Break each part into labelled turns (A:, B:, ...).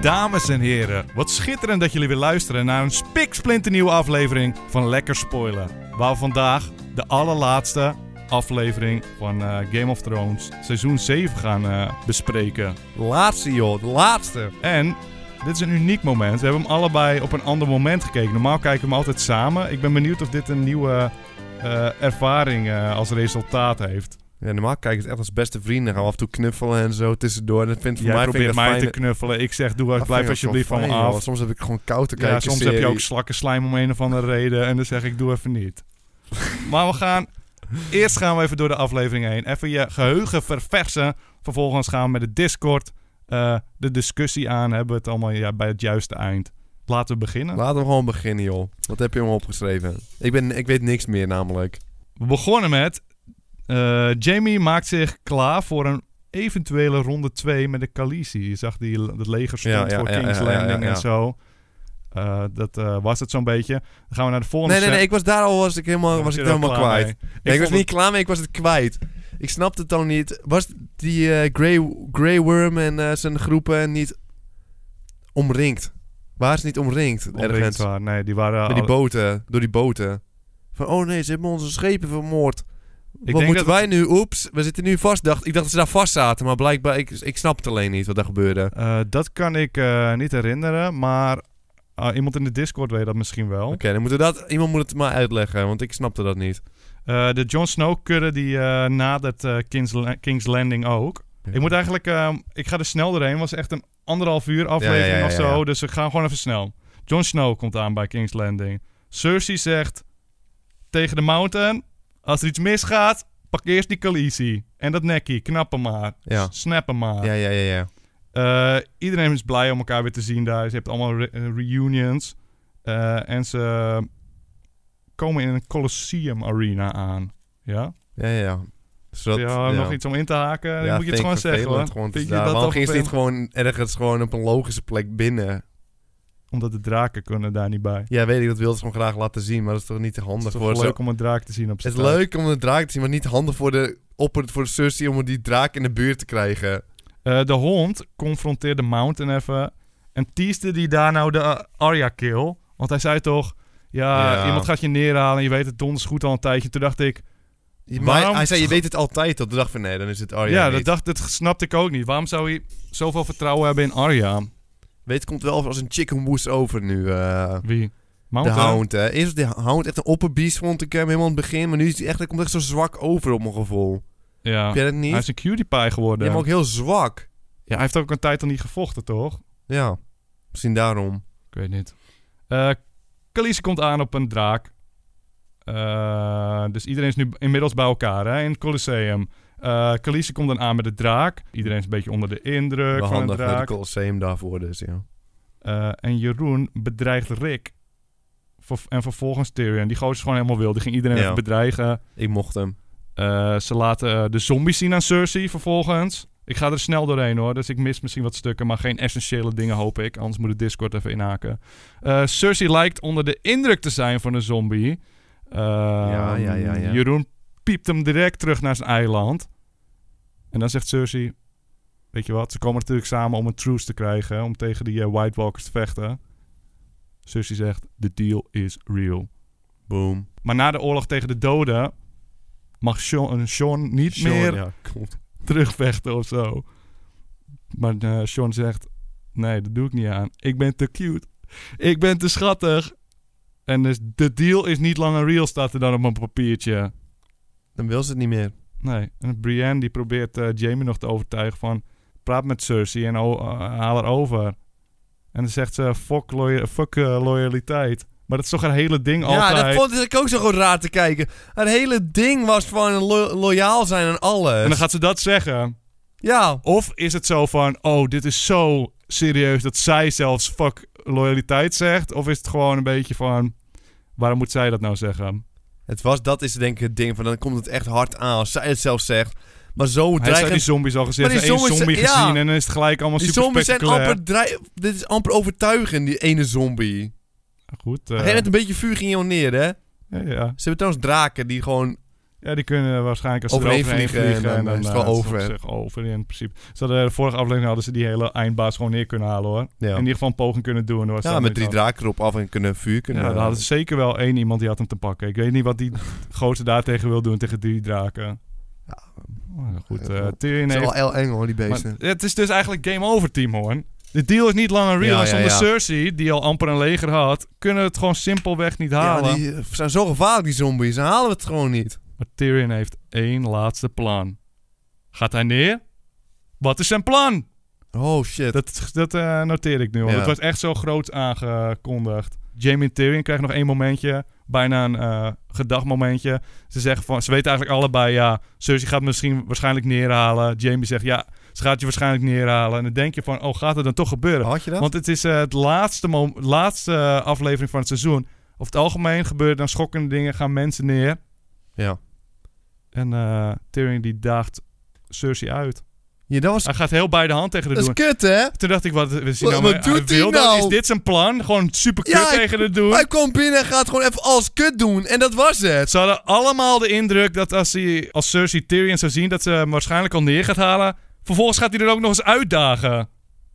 A: Dames en heren, wat schitterend dat jullie weer luisteren naar een spiksplinternieuwe aflevering van Lekker Spoilen. Waar vandaag de allerlaatste aflevering van eh, Game of Thrones seizoen 7 gaan eh, bespreken.
B: Laatste joh, de laatste.
A: En dit is een uniek moment. We hebben hem allebei op een ander moment gekeken. Normaal kijken we hem altijd samen. Ik ben benieuwd of dit een nieuwe eh, ervaring eh, als resultaat heeft.
B: Ja, normaal kijk ik het echt als beste vrienden. Gaan we af en toe knuffelen en zo tussendoor. Dat vindt voor
A: Jij
B: mij vind ik
A: probeert
B: dat
A: mij
B: fijn.
A: te knuffelen. Ik zeg, doe blijf
B: Dat vind ik wel
A: alsjeblieft van me
B: fijn, joh.
A: af.
B: Soms heb ik gewoon koud te kijken.
A: Ja, soms heb je ook slakkenslijm om een of andere reden. En dan zeg ik, doe even niet. maar we gaan... Eerst gaan we even door de aflevering heen. Even je geheugen verversen. Vervolgens gaan we met de Discord eh, de discussie aan. Hebben we het allemaal ja, bij het juiste eind. Laten we beginnen.
B: Laten we gewoon beginnen joh. Wat heb je me opgeschreven? Ik, ben, ik weet niks meer namelijk.
A: We begonnen met... eh, Jamie maakt zich klaar voor een eventuele ronde 2 met de Khaleesi. Je zag die het leger stond
B: Ja, ja,
A: voor
B: ja,
A: King's
B: ja, ja, ja,
A: Landing
B: ja.
A: en zo. Eh, dat eh, was het zo'n beetje. Dan gaan we naar de volgende
B: Nee, nee, nee.
A: scène.
B: Ik was daar al was ik helemaal,
A: Dan
B: Oh, was ik
A: je er al
B: helemaal
A: klaar
B: kwijt.
A: mee.
B: Nee, ik
A: vond
B: was
A: het-
B: niet klaar mee, ik was het kwijt. Ik snapte het dan niet. Was die eh Grey, Grey Worm en eh, zijn groepen niet omringd? Waar is niet omringd?
A: Onbekend
B: ergens.
A: waren. Nee, die waren
B: Met die
A: alle-
B: boten, door die boten. Van, oh nee, ze hebben onze schepen vermoord.
A: denk
B: wat
A: dat
B: moeten
A: het-
B: wij nu? Oeps, we zitten nu vast. Dacht, ik dacht dat ze daar vast zaten, maar blijkbaar, ik, ik snap het alleen niet wat daar gebeurde.
A: Eh, dat kan ik eh, niet herinneren, maar ah, iemand in de Discord weet dat misschien wel.
B: Oké, dan moeten we dat, iemand moet het maar uitleggen, want ik snapte dat niet.
A: Eh, de Jon Snow-kudde die eh, nadert eh, King's, La- King's Landing ook. Ik moet eigenlijk, eh, ik ga er snel doorheen, was echt een anderhalf uur aflevering
B: Ja, ja, ja,
A: of
B: ja,
A: zo,
B: ja.
A: dus we gaan gewoon even snel. Jon Snow komt aan bij King's Landing. Cersei zegt tegen de Mountain, als er iets misgaat, pak eerst die Khaleesi. En dat nekkie, knap hem maar,
B: Ja.
A: S- snap hem maar.
B: Ja, ja, ja, ja.
A: Eh, iedereen is blij om elkaar weer te zien daar. Ze hebben allemaal re- eh, reunions. Eh, en ze komen in een Colosseum Arena aan. Ja?
B: Ja, ja, ja. Zodat,
A: Heb je al nog iets om in te haken? Dan moet je het
B: vind
A: gewoon
B: ik
A: zeggen.
B: vervelend
A: hoor.
B: gewoon te
A: Vind je
B: staan.
A: dat
B: Waarom
A: toch
B: gingen ze niet
A: vervelend?
B: gewoon ergens gewoon op een logische plek binnen?
A: Omdat de draken kunnen daar niet bij.
B: Ja, weet ik, dat wilden ze gewoon graag laten zien, maar dat is toch niet
A: Het is
B: handig
A: toch
B: voor zo-
A: leuk om een draak te zien op
B: Het
A: zijn
B: is leuk om de draak te zien, maar niet handig voor de, opper, voor de Cersei om die draak in de buurt te krijgen.
A: Eh, de hond confronteerde Mountain even. En teaste die daar nou de eh, Arya kill. Want hij zei toch... Ja,
B: Ja.
A: iemand gaat je neerhalen. Je weet het donders goed al een tijdje. Toen dacht ik...
B: Maar
A: Waarom-
B: hij zei, je weet het altijd tot de dag van nee, dan is het oh
A: ja,
B: Arya
A: dat,
B: niet.
A: dacht, dat snapte ik ook niet. Waarom zou hij zoveel vertrouwen hebben in Arya?
B: Weet, het komt wel als een chicken woes over nu. eh
A: Wie?
B: de
A: Mountain?
B: Hound, hè. Eerst was die Hound echt een opperbeest, vond ik hem helemaal aan het begin. Maar nu is hij echt, hij komt echt zo zwak over op mijn gevoel.
A: Ja.
B: Heb jij dat niet?
A: Hij is een cutie pie
B: Je
A: geworden.
B: hebt hem ook heel zwak.
A: Ja, hij heeft ook een tijd al niet gevochten, toch?
B: Ja, misschien daarom.
A: Ik weet niet. Eh Khaleesi komt aan op een draak. Eh, dus iedereen is nu inmiddels bij elkaar hè, in het Colosseum. Eh Khaleesi komt dan aan met de draak. Iedereen is een beetje onder de indruk van
B: Wel
A: de
B: handig met de
A: draak.
B: Colosseum daarvoor dus, ja.
A: Eh, en Jeroen bedreigt Rick. Ver- en vervolgens Tyrion. Die gozer is gewoon helemaal wild. Die ging iedereen
B: Ja.
A: even bedreigen.
B: Ik mocht hem.
A: Eh, ze laten eh, de zombies zien aan Cersei vervolgens. Ik ga er snel doorheen hoor, dus ik mis misschien wat stukken, maar geen essentiële dingen hoop ik. Anders moet de Discord even inhaken. Eh, Cersei lijkt onder de indruk te zijn van een zombie. Ehm,
B: Ja, ja, ja, ja.
A: Jeroen piept hem direct terug naar zijn eiland. En dan zegt Cersei, weet je wat, ze komen natuurlijk samen om een truce te krijgen, om tegen die eh, White Walkers te vechten. Cersei zegt, the deal is real.
B: Boom.
A: Maar na de oorlog tegen de doden mag Sean, eh, Sean niet
B: Sean,
A: meer
B: Ja, klopt.
A: terugvechten of zo. Maar eh, Sean zegt: Nee, dat doe ik niet aan. Ik ben te cute. Ik ben te schattig. En dus de deal is niet langer real, staat er dan op een papiertje.
B: Dan wil ze het niet meer.
A: Nee. En Brienne die probeert eh, Jamie nog te overtuigen van... Praat met Cersei en o- eh, haal haar over. En dan zegt ze, fuck, loya- fuck eh, loyaliteit. Maar dat is toch haar hele ding altijd.
B: Ja, dat vond ik ook zo gewoon raar te kijken. Het hele ding was van lo- loyaal zijn aan alles.
A: En dan gaat ze dat zeggen.
B: Ja.
A: Of is het zo van, oh, dit is zo serieus dat zij zelfs fuck loyaliteit zegt? Of is het gewoon een beetje van, waarom moet zij dat nou zeggen?
B: Het was, dat is denk ik het ding van, dan komt het echt hard aan als zij het zelf zegt. Maar zo
A: Hij heeft die
B: dreigend...
A: zombies al gezien,
B: Maar die
A: heeft één
B: zombies-
A: zombie
B: ja.
A: gezien en dan is het gelijk allemaal
B: Die
A: super
B: zombies zijn
A: spectaculair.
B: amper drei- Dit is amper overtuigend, die ene zombie.
A: Goed,
B: Hij
A: eh,
B: net een beetje vuur ging jou neer, hè?
A: ja, ja.
B: Ze hebben trouwens draken die gewoon
A: Ja, die kunnen waarschijnlijk als ze
B: Overheen
A: eroverheen
B: vliegen en
A: vliegen.
B: dan is het wel
A: eh, is
B: over.
A: op zich over in principe. Ze hadden, eh, de vorige aflevering hadden ze die hele eindbaas gewoon neer kunnen halen hoor.
B: Ja,
A: In ieder geval een poging kunnen doen. hoor.
B: ja met drie draken erop af en kunnen vuur
A: Ja,
B: kunnen.
A: daar hadden ze zeker wel één iemand die had hem te pakken. Ik weet niet wat die gozer daartegen wil doen tegen drie draken.
B: Ja.
A: Maar goed,
B: Ja.
A: eh Tyrion
B: Het is
A: heeft...
B: wel heel eng hoor, die beesten.
A: maar het is dus eigenlijk game over, Team Hoorn. De deal is niet langer real.
B: Ja,
A: en
B: ja,
A: zonder
B: ja.
A: Cersei, die al amper een leger had, kunnen we het gewoon simpelweg niet halen.
B: Ja, die eh, zijn zo gevaarlijk, die zombies. Dan halen we het gewoon niet.
A: Maar Tyrion heeft één laatste plan. Gaat hij neer? Wat is zijn plan?
B: Oh shit.
A: Dat, dat eh, noteer ik nu al.
B: Ja.
A: Het was echt zo groot aangekondigd. Jamie en Tyrion krijgen nog één momentje. Bijna een eh gedagmomentje. Ze zeggen van... Ze weten eigenlijk allebei, ja... Cersei gaat me misschien waarschijnlijk neerhalen. Jamie zegt, ja... Ze gaat je waarschijnlijk neerhalen. En dan denk je van... Oh, gaat het dan toch gebeuren?
B: Had je dat?
A: Want het is eh, het laatste, mom- laatste eh, aflevering van het seizoen. Over het algemeen gebeuren dan schokkende dingen. Gaan mensen neer.
B: ja.
A: En eh Tyrion die daagt Cersei uit.
B: ja, dat was...
A: Hij gaat heel bij de hand tegen de
B: Dat is
A: doen.
B: kut, hè?
A: Toen dacht ik, wat, we zien
B: Wat-
A: nou,
B: wat
A: hij
B: doet hij
A: wil dat?
B: nou?
A: Is dit zijn plan? Gewoon super kut
B: Ja, ik-
A: tegen de doen.
B: Hij komt binnen en gaat gewoon even alles kut doen. En dat was het.
A: Ze hadden allemaal de indruk dat als, hij, als Cersei Tyrion zou zien... dat ze hem waarschijnlijk al neer gaat halen. Vervolgens gaat hij er ook nog eens uitdagen.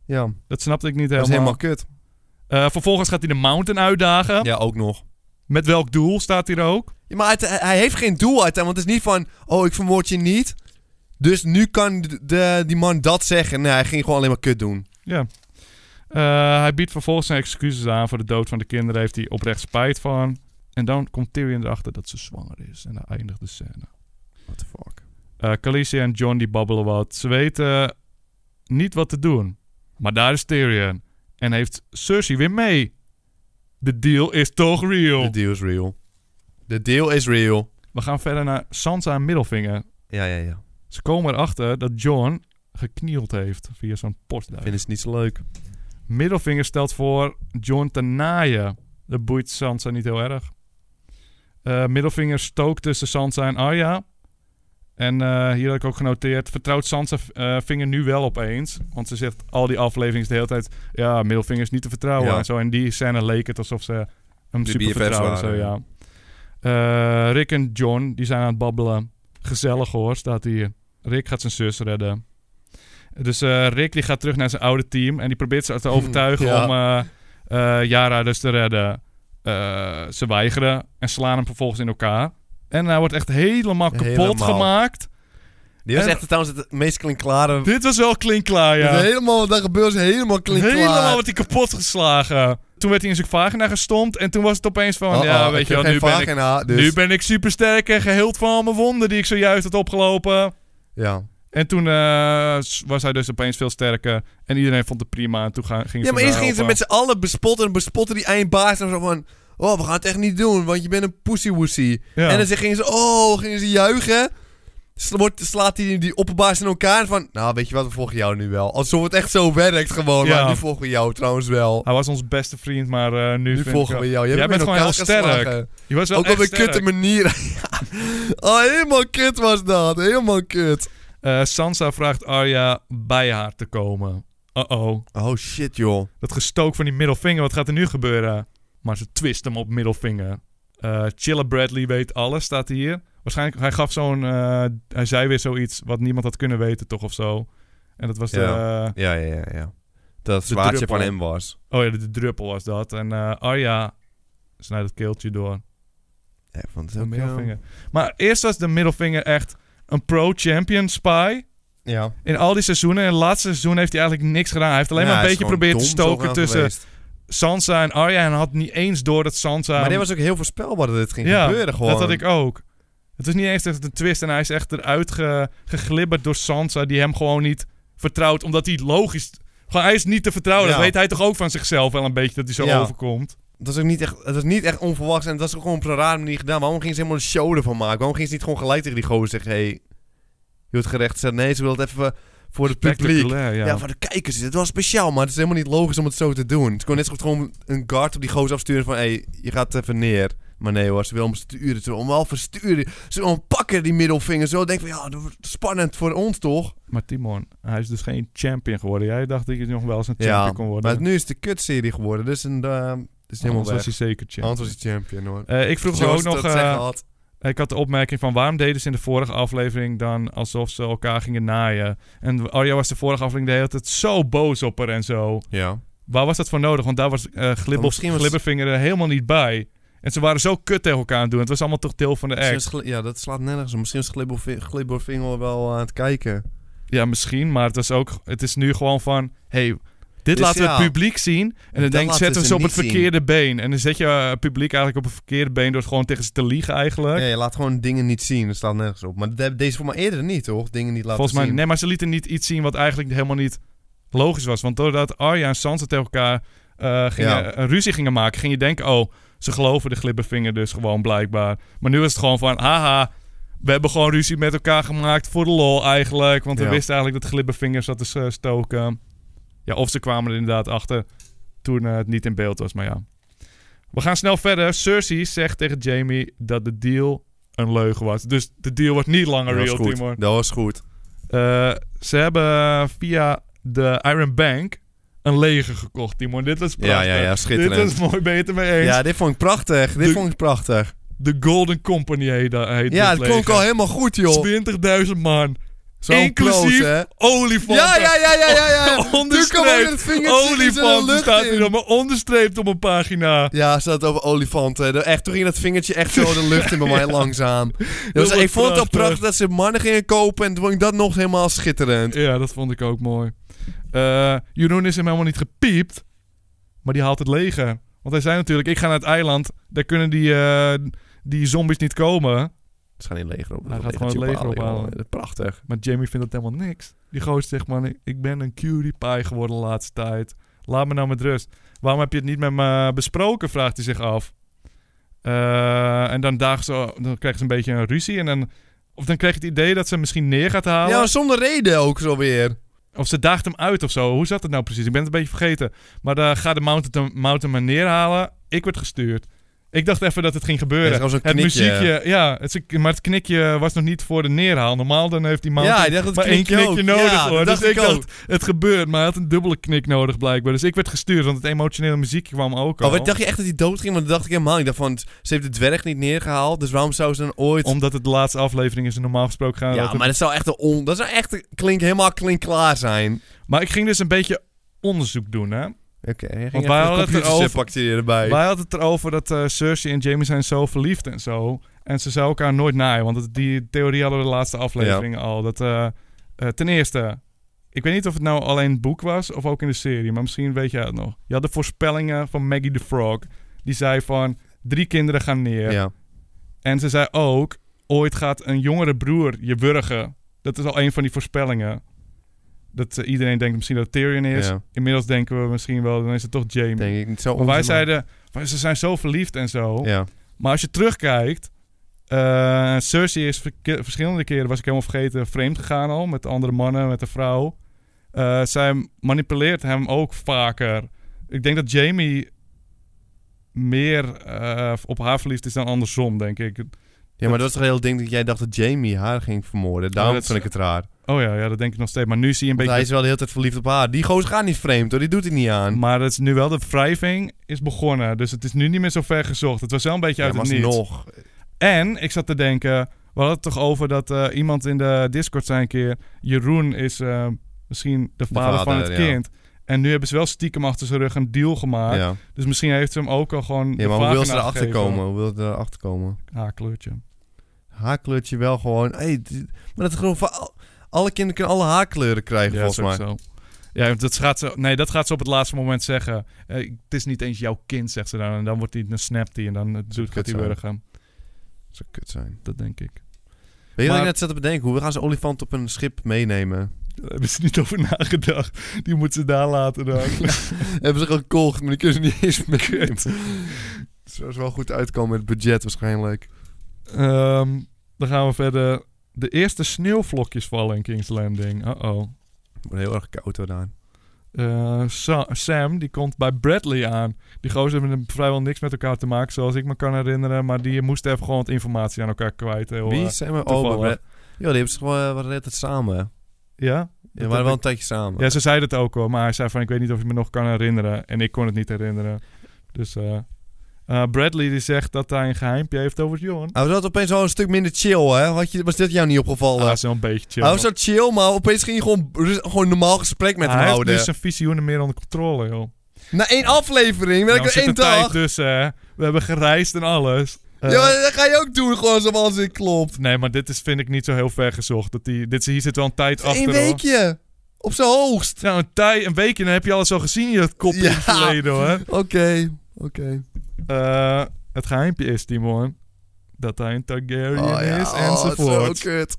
B: Ja,
A: Dat snapte ik niet
B: dat
A: helemaal.
B: is helemaal kut.
A: Eh, vervolgens gaat hij de Mountain uitdagen.
B: Ja, ook nog.
A: Met welk doel staat hier ook?
B: Ja, maar het- hij heeft geen doel uit, hè, want het is niet van... Oh, ik vermoord je niet. Dus nu kan de, de- die man dat zeggen. Nee, hij ging gewoon alleen maar kut doen.
A: Eh, hij biedt vervolgens zijn excuses aan voor de dood van de kinderen. Heeft hij oprecht spijt van. En dan komt Tyrion erachter dat ze zwanger is. En dan eindigt de scène.
B: What the fuck?
A: Eh Khaleesi en John die babbelen wat. Ze weten niet wat te doen. Maar daar is Tyrion. En heeft Cersei weer mee. De deal is toch
B: The
A: real.
B: deal is real. The deal is real.
A: We gaan verder naar Sansa en Middelvinger.
B: Ja, ja, ja.
A: Ze komen erachter dat John geknield heeft via zo'n postduif.
B: Vinden ze niet zo leuk.
A: Middelvinger stelt voor John te naaien. Dat boeit Sansa niet heel erg. Eh, Middelvinger stookt tussen Sansa en Arya. En eh, hier had ik ook genoteerd... vertrouwt Sansa eh, Vinger nu wel opeens? Want ze zegt al die afleveringen de hele tijd... ja, Middelvinger is niet te vertrouwen.
B: Ja.
A: En zo. En die scène leek het alsof ze hem
B: De
A: super
B: BFF's
A: vertrouwen. Zo,
B: waren,
A: ja. Eh, Rick en John die zijn aan het babbelen. Gezellig hoor, staat hier. Rick gaat zijn zus redden. Dus eh, Rick die gaat terug naar zijn oude team... en die probeert ze te overtuigen
B: Hmm, Ja.
A: om... eh, eh, Yara dus te redden. Eh, ze weigeren en slaan hem vervolgens in elkaar. En hij wordt echt helemaal kapot
B: Helemaal.
A: gemaakt.
B: Dit was
A: En-
B: echt trouwens het meest klinkklare...
A: Dit was wel klinkklaar, ja.
B: Dus helemaal wat daar gebeurt is helemaal klinkklaar.
A: Helemaal wordt hij kapot geslagen. Toen werd hij in zijn vagina gestompt. En toen was het opeens van...
B: Oh,
A: ja,
B: oh,
A: weet
B: ik
A: je wel,
B: heb
A: nu
B: geen
A: ben, ik,
B: vagina, dus-
A: nu ben ik supersterk... en geheeld van al mijn wonden die ik zojuist had opgelopen.
B: Ja.
A: En toen eh, s- was hij dus opeens veel sterker. En iedereen vond het prima. En toen ga- ging
B: ja, maar eerst gingen ze met
A: mensen
B: z'n allen bespotten en bespotten die eindbaas. En zo van, oh, we gaan het echt niet doen, want je bent een pussy-woesie.
A: Ja.
B: En dan ze- gingen ze, oh, gingen ze juichen. Sla- wordt- Slaat die, die opperbaas in elkaar en van, nou, weet je wat, we volgen jou nu wel. Alsof het echt zo werkt gewoon,
A: Ja.
B: maar nu volgen we jou trouwens wel.
A: Hij was ons beste vriend, maar eh, nu,
B: Nu
A: vind ik
B: volgen
A: wel-
B: we jou.
A: Jij
B: hem
A: bent
B: in
A: gewoon heel
B: elkaar
A: sterk.
B: geslagen.
A: Je was wel
B: Ook
A: echt
B: op een
A: sterk.
B: kutte manier. oh, helemaal kut was dat. Helemaal kut.
A: Eh, Sansa vraagt Arya bij haar te komen. Uh-oh.
B: Oh, shit, joh.
A: Dat gestook van die middelvinger, wat gaat er nu gebeuren? Maar ze twist hem op middelvinger. Eh Chilla Bradley weet alles, staat hier. Waarschijnlijk, hij gaf zo'n... eh, hij zei weer zoiets wat niemand had kunnen weten, toch, of zo. En dat was de... eh,
B: Ja. Ja, ja, ja. ja. Dat
A: zwaardje druppel. van hem
B: was.
A: oh ja, de, de druppel was dat. En eh, Arya snijdt het keeltje door.
B: Ja, van
A: De middelvinger. Maar eerst was de middelvinger echt een pro-champion spy...
B: Ja.
A: In al die seizoenen, in het laatste seizoen heeft hij eigenlijk niks gedaan. Hij heeft alleen maar een beetje proberen te stoken tussen Sansa en Arya. En hij had niet eens door dat Sansa...
B: maar dit was ook heel voorspelbaar dat dit ging
A: ehm, Ja,
B: gebeuren gewoon.
A: Dat had ik ook. Het was niet eens echt een twist. En hij is echt eruit ge- geglibberd door Sansa. Die hem gewoon niet vertrouwt. Omdat hij logisch... Gewoon, hij is niet te vertrouwen.
B: Ja.
A: Dat weet hij toch ook van zichzelf wel een beetje. Dat hij zo
B: Ja.
A: overkomt.
B: Het was ook niet echt, het was niet echt onverwachts en het was ook gewoon op een rare manier gedaan. Waarom gingen ze helemaal een show ervan maken? Waarom gingen ze niet gewoon gelijk tegen die gozer zeggen... Hé, hey, je wordt gerecht gezet. Nee, ze wil het even voor het publiek.
A: Spectaculair, Ja.
B: Ja. voor de kijkers. Het was speciaal, maar het is helemaal niet logisch om het zo te doen. Het kon net zo goed gewoon een guard op die gozer afsturen van... Hé, hey, je gaat even neer. Maar nee hoor, ze wil hem sturen. Ze wil hem wel versturen. Ze wil hem pakken, die middelvinger. Zo denk ik van, ja, dat wordt spannend voor ons toch?
A: Maar Timon, hij is dus geen champion geworden. Jij dacht dat je nog wel eens een champion kon worden.
B: maar nu is het de kutserie geworden. Dus een, eh, het is helemaal
A: Anders was
B: weg.
A: hij zeker champion.
B: Anders was hij champion hoor.
A: Eh, ik vroeg me ook nog... eh, Ik had de opmerking van waarom deden ze in de vorige aflevering dan alsof ze elkaar gingen naaien. En Arya was de vorige aflevering de hele tijd zo boos op haar en zo.
B: Ja.
A: Waar was dat voor nodig? Want daar was eh Glibbel,
B: misschien was-
A: Glibbervinger er helemaal niet bij. En ze waren zo kut tegen elkaar aan het doen. Het was allemaal toch deel van de
B: Misschien
A: act.
B: is gli- ja, dat slaat nergens op. Misschien is Glibbervi- Glibbervinger wel eh, aan het kijken.
A: Ja, misschien, maar het, was ook, het is nu gewoon van... Hey, dit
B: Dus
A: laten we
B: ja,
A: het publiek zien. En dan
B: dat
A: denk ik,
B: laten
A: zetten we ze
B: ze
A: op
B: niet
A: het verkeerde been. En dan zet je eh, het publiek eigenlijk op het verkeerde been... door gewoon tegen ze te liegen eigenlijk.
B: Nee, je laat gewoon dingen niet zien. Dat staat nergens op. Maar de- deze voor mij eerder niet, toch? Dingen niet laten
A: Volgens mij,
B: zien.
A: nee, maar ze lieten niet iets zien wat eigenlijk helemaal niet logisch was. Want doordat Arya en Sansa tegen elkaar eh, gingen,
B: Ja.
A: een ruzie gingen maken, ging je denken: oh, ze geloven de glibbervinger dus gewoon blijkbaar. Maar nu is het gewoon van: haha, we hebben gewoon ruzie met elkaar gemaakt voor de lol eigenlijk. Want we
B: Ja.
A: wisten eigenlijk dat glibbervinger zat te s- stoken. Ja, of ze kwamen er inderdaad achter toen eh, het niet in beeld was, maar ja. We gaan snel verder. Cersei zegt tegen Jamie dat de deal een leugen was. Dus de deal wordt niet langer
B: Dat was
A: real,
B: goed.
A: Timor.
B: Dat was goed.
A: Eh, ze hebben via de Iron Bank een leger gekocht, Timon. Dit was
B: Ja,
A: prachtig.
B: ja, ja.
A: Dit
B: Schitterend.
A: is mooi beter mee eens.
B: Ja, dit vond ik prachtig. Dit
A: De-
B: vond ik prachtig.
A: De Golden Company heet, eh, heet
B: Ja,
A: dit
B: het klonk al
A: leger.
B: helemaal goed, joh.
A: 20.000 man.
B: Zo'n
A: inclusief
B: close, hè?
A: Olifanten.
B: Ja, ja, ja, ja, ja, ja. Nu kwam ook
A: Onderstreept.
B: het vingertje iets in de
A: Olifanten
B: lucht
A: staat
B: in.
A: hier nog maar onderstreept op een pagina.
B: Ja, ze had het over olifanten. De- Echt, toen ging dat vingertje echt zo de lucht in bij mij langzaam. Dat was-
A: wordt
B: ik vond het al
A: prachtig.
B: prachtig dat ze mannen gingen kopen en toen vond ik dat nog helemaal schitterend.
A: Ja, dat vond ik ook mooi. Eh Jeroen is hem helemaal niet gepiept. Maar die haalt het leger. Want hij zei natuurlijk, ik ga naar het eiland. Daar kunnen die, eh, die zombies niet komen.
B: Ze gaan in het leger op.
A: Hij gaat gewoon het leger ophalen.
B: Prachtig.
A: Maar Jamie vindt dat helemaal niks. Die gozer zegt, man, ik- ik ben een cutie pie geworden de laatste tijd. Laat me nou met rust. Waarom heb je het niet met me besproken, vraagt hij zich af. Eh, en dan, dagen ze, dan krijgt ze een beetje een ruzie. En dan, of dan krijg je het idee dat ze hem misschien neer gaat halen.
B: Ja, maar zonder reden ook zo weer.
A: Of ze daagt hem uit of zo. Hoe zat het nou precies? Ik ben het een beetje vergeten. Maar daar ga de mountain, mountain maar neerhalen. Ik werd gestuurd. Ik dacht even dat het ging gebeuren.
B: Ja, het was een
A: het
B: knikje.
A: muziekje, ja. Het, is- maar het knikje was nog niet voor de neerhaal. Normaal dan heeft die mountain
B: ja, ik dacht dat
A: maar één knikje
B: ook.
A: nodig
B: ja,
A: hoor.
B: dat
A: Dus
B: dacht
A: ik
B: ik ook. Oh,
A: dacht, het gebeurt, maar hij had een dubbele knik nodig blijkbaar. Dus ik werd gestuurd, want het emotionele muziekje kwam ook al.
B: Oh, wat, dacht je echt dat hij dood ging? Want dat dacht ik helemaal. Ik dacht van, ze heeft de dwerg niet neergehaald, dus waarom zou ze dan ooit...
A: Omdat het de laatste aflevering is en normaal gesproken gaan. we
B: Ja,
A: dat-
B: maar dat zou echt een on... Dat zou echt een klink, helemaal klinkklaar zijn.
A: maar ik ging dus een beetje onderzoek doen, hè.
B: Oké, hij
A: Want
B: ging
A: wij
B: even
A: hadden
B: een
A: het erover-
B: computerchip pakte hij erbij.
A: Wij hadden het erover dat eh, Cersei en Jamie zijn zo verliefd en zo. En ze zouden elkaar nooit naaien. Want het- die theorie hadden we de laatste aflevering al. Dat, eh, eh, ten eerste, ik weet niet of het nou alleen het boek was of ook in de serie. Maar misschien weet jij het nog. Je had de voorspellingen van Maggie the Frog. Die zei van, drie kinderen gaan neer.
B: Ja.
A: En ze zei ook, ooit gaat een jongere broer je wurgen. Dat is al een van die voorspellingen. Dat eh, iedereen denkt misschien dat het Tyrion is.
B: Ja.
A: Inmiddels denken we misschien wel, dan is het toch Jamie.
B: Denk ik niet zo
A: Maar wij
B: onzin,
A: zeiden, van, ze zijn zo verliefd en zo.
B: Ja.
A: Maar als je terugkijkt, eh Cersei is verke- verschillende keren, was ik helemaal vergeten, vreemd gegaan al. Met andere mannen, met de vrouw. Eh, zij manipuleert hem ook vaker. Ik denk dat Jamie meer eh, op haar verliefd is dan andersom, denk ik.
B: Ja, maar dat was toch een heel ding dat jij dacht dat Jamie haar ging vermoorden. Daarom
A: Ja, dat
B: vond ik het raar.
A: Oh ja, ja, dat denk ik nog steeds. Maar nu zie je een
B: Want hij
A: beetje...
B: is wel de hele tijd verliefd op haar. Die gozer gaat niet vreemd hoor, die doet het niet aan.
A: Maar het is nu wel de wrijving is begonnen. Dus het is nu niet meer zo ver gezocht. Het was wel een beetje
B: ja,
A: uit
B: maar
A: het niets.
B: nog.
A: En ik zat te denken, we hadden het toch over dat eh, iemand in de Discord zei een keer... Jeroen is eh, misschien de vader, van
B: vader,
A: het
B: ja.
A: kind. En nu hebben ze wel stiekem achter zijn rug een deal gemaakt.
B: ja.
A: Dus misschien heeft ze hem ook al gewoon de
B: ja, maar hoe wil ze
A: vagina
B: erachter
A: gegeven.
B: komen? Hoe wil ze erachter komen?
A: Haar kleurtje.
B: Haar kleurtje wel gewoon. Hey, dit- maar dat is gewoon van al- alle kinderen kunnen alle haarkleuren krijgen
A: Ja,
B: volgens mij.
A: sowieso. Ja, want dat gaat ze, nee, dat gaat ze op het laatste moment zeggen. Eh, ik- het is niet eens jouw kind, zegt ze dan. En dan wordt hij, dan snapt hij en dan eh, doet, gaat
B: kut
A: hij
B: zijn.
A: wurgen.
B: Dat zou kut zijn.
A: Dat denk ik.
B: Weet je wat
A: Maar-
B: ik net zat te bedenken? Hoe gaan ze olifant op een schip meenemen?
A: Daar hebben ze niet over nagedacht. Die moeten ze daar laten dan.
B: Hebben ze gekocht, maar die kunnen ze niet eens meenemen. Het zou ze wel goed uitkomen met het budget waarschijnlijk.
A: Ehm, dan gaan we verder. De eerste sneeuwvlokjes vallen in King's Landing. Uh-oh.
B: Het wordt heel erg koud hoor, Daan.
A: Eh, Sa- Sam, die komt bij Bradley aan. Die gozer hebben vrijwel niks met elkaar te maken, zoals ik me kan herinneren. Maar die moest even gewoon wat informatie aan elkaar kwijt. Heel,
B: Wie
A: eh,
B: zijn we?
A: toevallig.
B: Oh, maar- Ja, die hebben ze gewoon eh, wat net het samen. hè?
A: ja?
B: Ja, we
A: heb
B: waren wel
A: ik-
B: een tijdje samen.
A: Ja, ze zei dat ook hoor. Maar hij zei van, ik weet niet of je me nog kan herinneren. En ik kon het niet herinneren. Dus eh, Eh, Bradley die zegt dat hij een geheimpje heeft over John.
B: Hij was altijd opeens al een stuk minder chill, hè? Had je, was dit jou niet opgevallen?
A: Ah, dat is wel een beetje chill.
B: eh, hij was zo chill, maar opeens ging je gewoon, rus- gewoon een normaal gesprek met hem
A: hij heeft
B: houden.
A: dus zijn visioenen meer onder controle, joh.
B: Na één aflevering,
A: Ja,
B: ben
A: we
B: ik er één
A: zitten
B: dag.
A: tijd tussen, hè. We hebben gereisd en alles. Eh,
B: ja, dat ga je ook doen, gewoon zo als ik klopt.
A: Nee, maar dit is, vind ik niet zo heel ver gezocht. Dat die, dit, hier zit wel een tijd achter,
B: Eén
A: hoor.
B: weekje. Op zijn hoogst.
A: Nou, een, tij, een weekje, dan heb je alles al gezien je kopje in het
B: Ja.
A: verleden, hoor.
B: Oké, oké.
A: Eh, het geheimpje is, Timon, dat hij een Targaryen is
B: Oh,
A: enzovoort.
B: zo kut.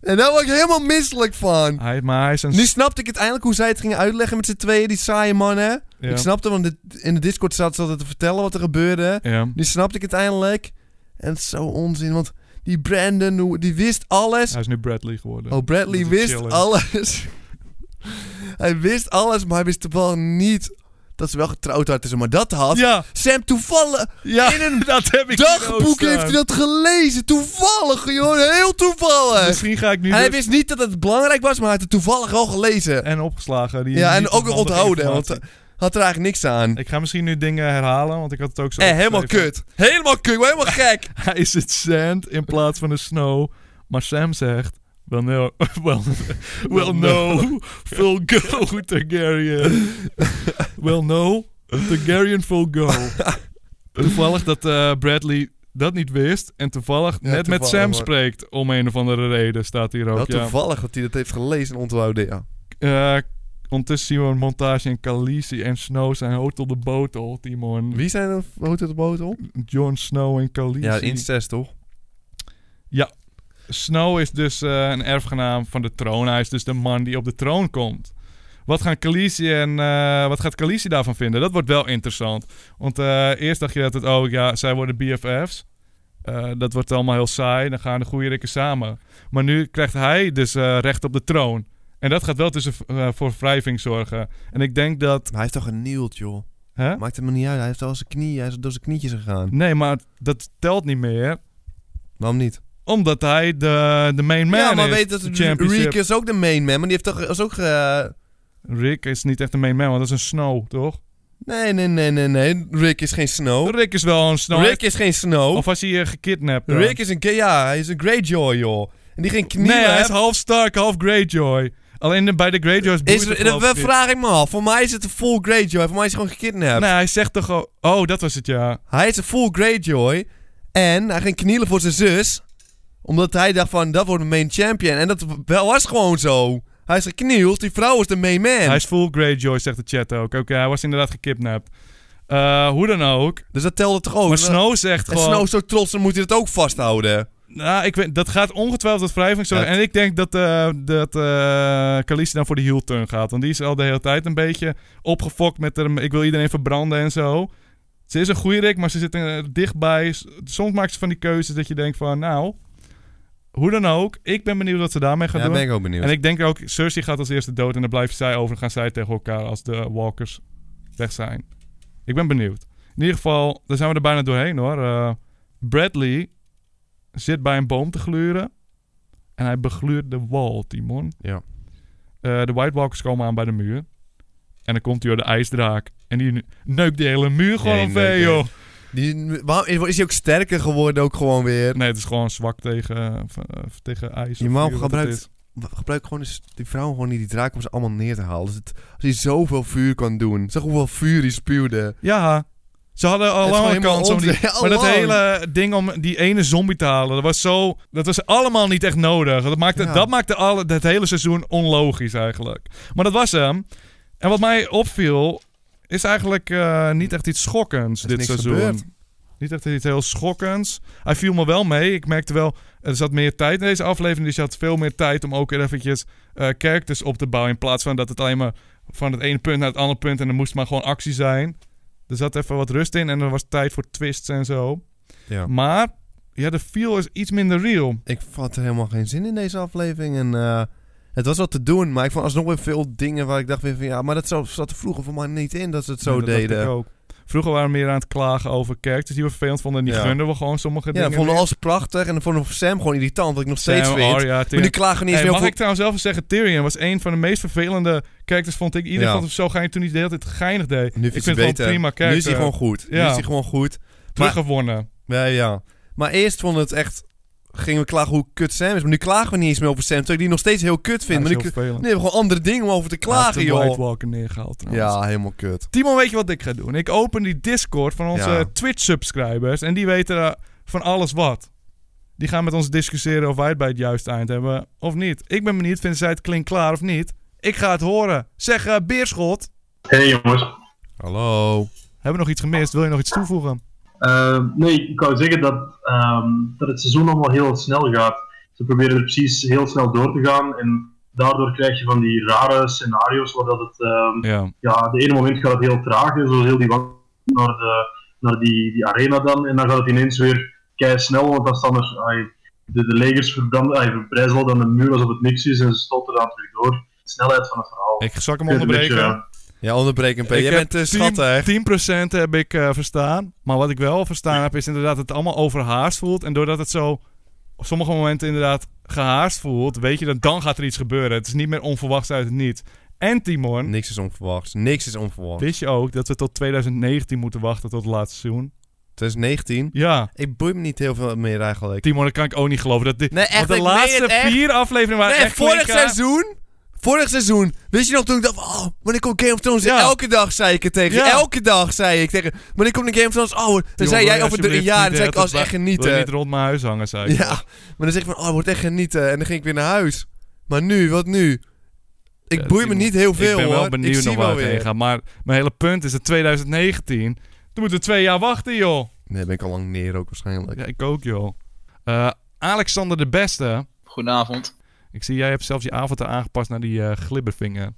B: En daar word ik helemaal misselijk van.
A: Hij, maar hij is een...
B: Nu snapte ik uiteindelijk hoe zij het gingen uitleggen met z'n tweeën, die saaie mannen.
A: ja,
B: Ik snapte, want dit- in de Discord zat ze altijd te vertellen wat er gebeurde.
A: ja.
B: Nu snapte ik het eindelijk. En het is zo onzin, want die Brandon, hoe- die wist alles.
A: Hij is nu Bradley geworden.
B: Oh, Bradley
A: Moet het
B: wist
A: chillen.
B: alles. hij wist alles, maar hij wist wel niet dat ze wel getrouwd waren tussen. Maar dat had
A: Ja,
B: Sam toevallig...
A: ja.
B: In een
A: dat heb ik hier ook
B: dagboek
A: staan.
B: heeft hij dat gelezen. Toevallig, joh. Heel toevallig.
A: Misschien ga ik nu
B: En hij
A: dus-
B: wist niet dat het belangrijk was, maar hij had het toevallig al gelezen.
A: en opgeslagen. Die
B: Ja, en
A: niet
B: ook nog
A: handige
B: onthouden, want
A: informatie.
B: hij had er eigenlijk niks aan.
A: Ik ga misschien nu dingen herhalen, want ik had het ook zo.
B: Eh, helemaal
A: opgeschreven.
B: kut. Helemaal kut. ik word Helemaal gek.
A: Hij is het sand in plaats van de snow. Maar Sam zegt. Well, no. Well, well, no. Vulgo Targaryen. Well, no. Targaryen Vulgo. Toevallig dat eh, Bradley dat niet wist. En toevallig
B: Ja,
A: net met
B: toevallig,
A: Sam
B: hoor.
A: spreekt. Om een of andere reden staat hier
B: Wel
A: ook. Ja.
B: toevallig dat hij dat heeft gelezen en onthouden, ja.
A: Eh, ondertussen zien we een montage in Khaleesi en Snow zijn hotel de botel, Timon.
B: Wie zijn er hoe heet het op botel?
A: Jon Snow en Khaleesi.
B: Ja, incest, toch?
A: Snow is dus eh, een erfgenaam van de troon. Hij is dus de man die op de troon komt. Wat, gaan Khaleesi en, eh, wat gaat Khaleesi daarvan vinden? Dat wordt wel interessant. Want eh, eerst dacht je dat het, oh ja, zij worden BFF's. Eh, dat wordt allemaal heel saai. Dan gaan de goede rikken samen. Maar nu krijgt hij dus eh, recht op de troon. En dat gaat wel tussen, eh, voor wrijving zorgen. En ik denk dat...
B: Maar hij heeft toch genield, joh.
A: Hè?
B: Maakt hem niet uit. Hij heeft al zijn knie, hij is door zijn knietjes gegaan.
A: Nee, maar dat telt niet meer.
B: Waarom niet?
A: Omdat hij de, de main man
B: ja, maar
A: is.
B: weet dat
A: de championship.
B: Riek is ook de main man, maar die heeft toch is ook... ge-
A: Rick is niet echt de main man, want dat is een snow, toch?
B: Nee, nee, nee, nee, nee. Rick is geen Snow.
A: Rick is wel een snow.
B: Oh. Rick is geen Snow.
A: Of was hij eh, gekidnapt? dan?
B: Rick is een... ge- Ja, hij is een Greyjoy, joh. En die geen knieën
A: Nee, hij is
B: heeft.
A: half Stark, half Greyjoy. Alleen de- bij de Greyjoys boeit
B: Is,
A: het
B: dat
A: geloof ik niet.
B: vraag ik me af. Voor mij is het een full Greyjoy. Voor mij is hij gewoon gekidnapt.
A: Nee, hij zegt toch al... Oh, dat was het, ja.
B: Hij is een full Greyjoy. En hij ging knielen voor zijn zus. Omdat hij dacht van, dat wordt de main champion. En dat wel was gewoon zo. Hij is geknield. Die vrouw is de main man.
A: Hij is full Greyjoy, zegt de chat ook. Oké, hij was inderdaad gekidnapt. Eh, hoe dan ook.
B: Dus dat telde toch ook.
A: maar Snow zegt
B: en
A: gewoon...
B: Snow is zo trots, dan moet hij dat ook vasthouden.
A: Nou, ik weet, dat gaat ongetwijfeld tot wrijving zorgen.
B: Ja.
A: En ik denk dat, eh dat eh Khaleesi dan voor de heel turn gaat. Want die is al de hele tijd een beetje opgefokt met hem. Ik wil iedereen verbranden en zo. Ze is een goede rik, maar ze zit er dichtbij. S- Soms maakt ze van die keuzes dat je denkt van... Nou, hoe dan ook. Ik ben benieuwd wat ze daarmee gaan
B: Ja,
A: doen.
B: ben ik ook benieuwd.
A: En ik denk ook, Cersei gaat als eerste dood. En dan blijven zij over en gaan zij tegen elkaar als de walkers weg zijn. Ik ben benieuwd. In ieder geval, daar zijn we er bijna doorheen hoor. Eh, Bradley zit bij een boom te gluren. En hij begluurt de wal, Timon.
B: Ja.
A: Eh, de White Walkers komen aan bij de muur. En dan komt hij door de ijsdraak. En die neukt die hele muur gewoon
B: Nee,
A: omver,
B: neukt
A: joh.
B: Die, waarom, is is hij ook sterker geworden ook gewoon weer?
A: Nee, het is gewoon zwak tegen, eh, v- eh, tegen ijs.
B: Je
A: of
B: man
A: vuur, wat het
B: gebruikt-
A: is.
B: Gebruik gewoon eens die vrouw gewoon niet die draak om ze allemaal neer te halen. Dus het, als hij zoveel vuur kan doen. Zeg hoeveel vuur hij spuwde.
A: Ja, ze hadden al
B: Het is
A: lang
B: gewoon
A: een kans om die
B: helemaal onzin.
A: Maar dat
B: Allang.
A: hele ding om die ene zombie te halen, dat was zo. Dat was allemaal niet echt nodig. Dat maakte,
B: Ja.
A: dat maakte alle, het hele seizoen onlogisch eigenlijk. Maar dat was hem. En wat mij opviel, is eigenlijk eh, niet echt iets schokkends
B: Er is
A: dit
B: niks
A: seizoen.
B: gebeurd.
A: Niet echt iets heel schokkends. Hij viel me wel mee. Ik merkte wel, er zat meer tijd in deze aflevering. Dus je had veel meer tijd om ook weer eventjes eh characters op te bouwen. In plaats van dat het alleen maar van het ene punt naar het andere punt. En er moest maar gewoon actie zijn. Er zat even wat rust in en er was tijd voor twists en zo.
B: Ja.
A: Maar ja, de feel is iets minder real.
B: Ik had er helemaal geen zin in deze aflevering. En eh, het was wat te doen. Maar ik vond alsnog weer veel dingen waar ik dacht weer van... Ja, maar dat zou- zat er vroeger voor mij niet in dat ze het zo
A: Nee, dat dacht
B: deden.
A: ik
B: Ja,
A: ook. Vroeger waren we meer aan het klagen over characters die we vervelend vonden. En die
B: Ja.
A: gunden we gewoon sommige
B: ik
A: dingen.
B: vond
A: niet.
B: alles prachtig. En dan vond ik Sam gewoon irritant, wat ik nog steeds
A: Sam,
B: vind.
A: Arya,
B: maar
A: Tyrion.
B: die klagen niet eens
A: Hey,
B: meer
A: mag
B: over...
A: ik trouwens zelf zeggen, Tyrion was een van de meest vervelende characters, vond ik. Iedereen
B: Ja.
A: vond hem zo geinig toen hij de hele tijd geinig deed.
B: Nu
A: ik
B: vind
A: vind het
B: beter.
A: gewoon prima character.
B: Nu is hij gewoon goed. Nu
A: Ja.
B: is hij gewoon goed.
A: Teruggewonnen.
B: Ja, ja. Maar eerst vond het echt... Gingen we klagen hoe kut Sam is. Maar nu klagen we niet eens meer over Sam. Terwijl ik die nog steeds heel kut vind.
A: Ja,
B: maar
A: dat
B: nu
A: is heel vervelend.
B: nee, we hebben gewoon andere dingen om over te
A: Hij
B: klagen,
A: heeft de White
B: joh.
A: Walker neergehaald trouwens.
B: Ja, helemaal kut.
A: Timon, weet je wat ik ga doen? Ik open die Discord van onze
B: Ja.
A: Twitch-subscribers en die weten eh, van alles wat. Die gaan met ons discussiëren of wij het bij het juiste eind hebben of niet. Ik ben benieuwd, vinden zij het klinkt klaar of niet? Ik ga het horen. Zeg, eh, Beerschot,
C: Hey jongens.
B: Hallo.
A: hebben we nog iets gemist? Wil je nog iets toevoegen?
C: Ehm, nee, ik wou zeggen dat, ehm, dat het seizoen allemaal heel snel gaat. Ze proberen er precies heel snel door te gaan. En daardoor krijg je van die rare scenario's waar dat het. ehm,
A: Ja.
C: ja, de ene moment gaat het heel traag, hè, zoals heel die wand naar, de, naar die, die arena dan. En dan gaat het ineens weer kei snel, want dan staan er ai, de, de legers verbranden, ai, verbrijzelen dan de muur alsof het niks is en ze stoten dan terug door. De snelheid van het verhaal.
A: Ik zal hem
C: vind het een beetje,
A: onderbreken.
C: ja.
B: Ja, onderbreken, P. Jij
A: heb
B: bent eh, te schattig.
A: 10%, heb ik eh, verstaan. Maar wat ik wel verstaan heb, is inderdaad dat het allemaal overhaast voelt. En doordat het zo op sommige momenten inderdaad gehaast voelt, weet je dat dan gaat er iets gebeuren. Het is niet meer onverwachts uit het niets. En Timon,
B: Niks is onverwachts. Niks is onverwachts.
A: wist je ook dat we tot 2019 moeten wachten tot het laatste seizoen?
B: 2019.
A: Ja.
B: Ik boei me niet heel veel meer eigenlijk.
A: Timon, dat kan ik ook niet geloven. Dat dit,
B: Nee,
A: want
B: echt,
A: de
B: ik meen
A: laatste
B: het echt.
A: vier afleveringen waren
B: Nee,
A: echt
B: vorig
A: klinken.
B: seizoen. Vorig seizoen. Wist je nog toen ik dacht, oh, wanneer komt Game of Thrones?
A: Ja.
B: Elke dag zei ik het tegen je.
A: Ja.
B: Elke dag zei ik tegen Wanneer komt de Game of Thrones? Oh, dan zei jij over drie jaar. Dan zei ik, oh, is echt
A: Wil je
B: genieten.
A: niet rond mijn huis hangen, zei ik.
B: Ja, maar dan zeg ik van, oh, het wordt echt genieten. En dan ging ik weer naar huis. Maar nu, wat nu? Ik
A: Ja,
B: boei me
A: Timo,
B: niet heel veel,
A: ik ben
B: hoor.
A: wel benieuwd
B: ik zie
A: nog waar
B: wel
A: het heen
B: weer.
A: gaat. Maar mijn hele punt is dat 2019... Toen moeten we twee jaar wachten, joh.
B: Nee, ben ik al lang neer ook waarschijnlijk.
A: Ja, ik ook, joh. Eh, Alexander de Beste.
D: Goedenavond.
A: Ik zie, jij hebt zelfs je avatar aangepast naar die eh, glibbervinger.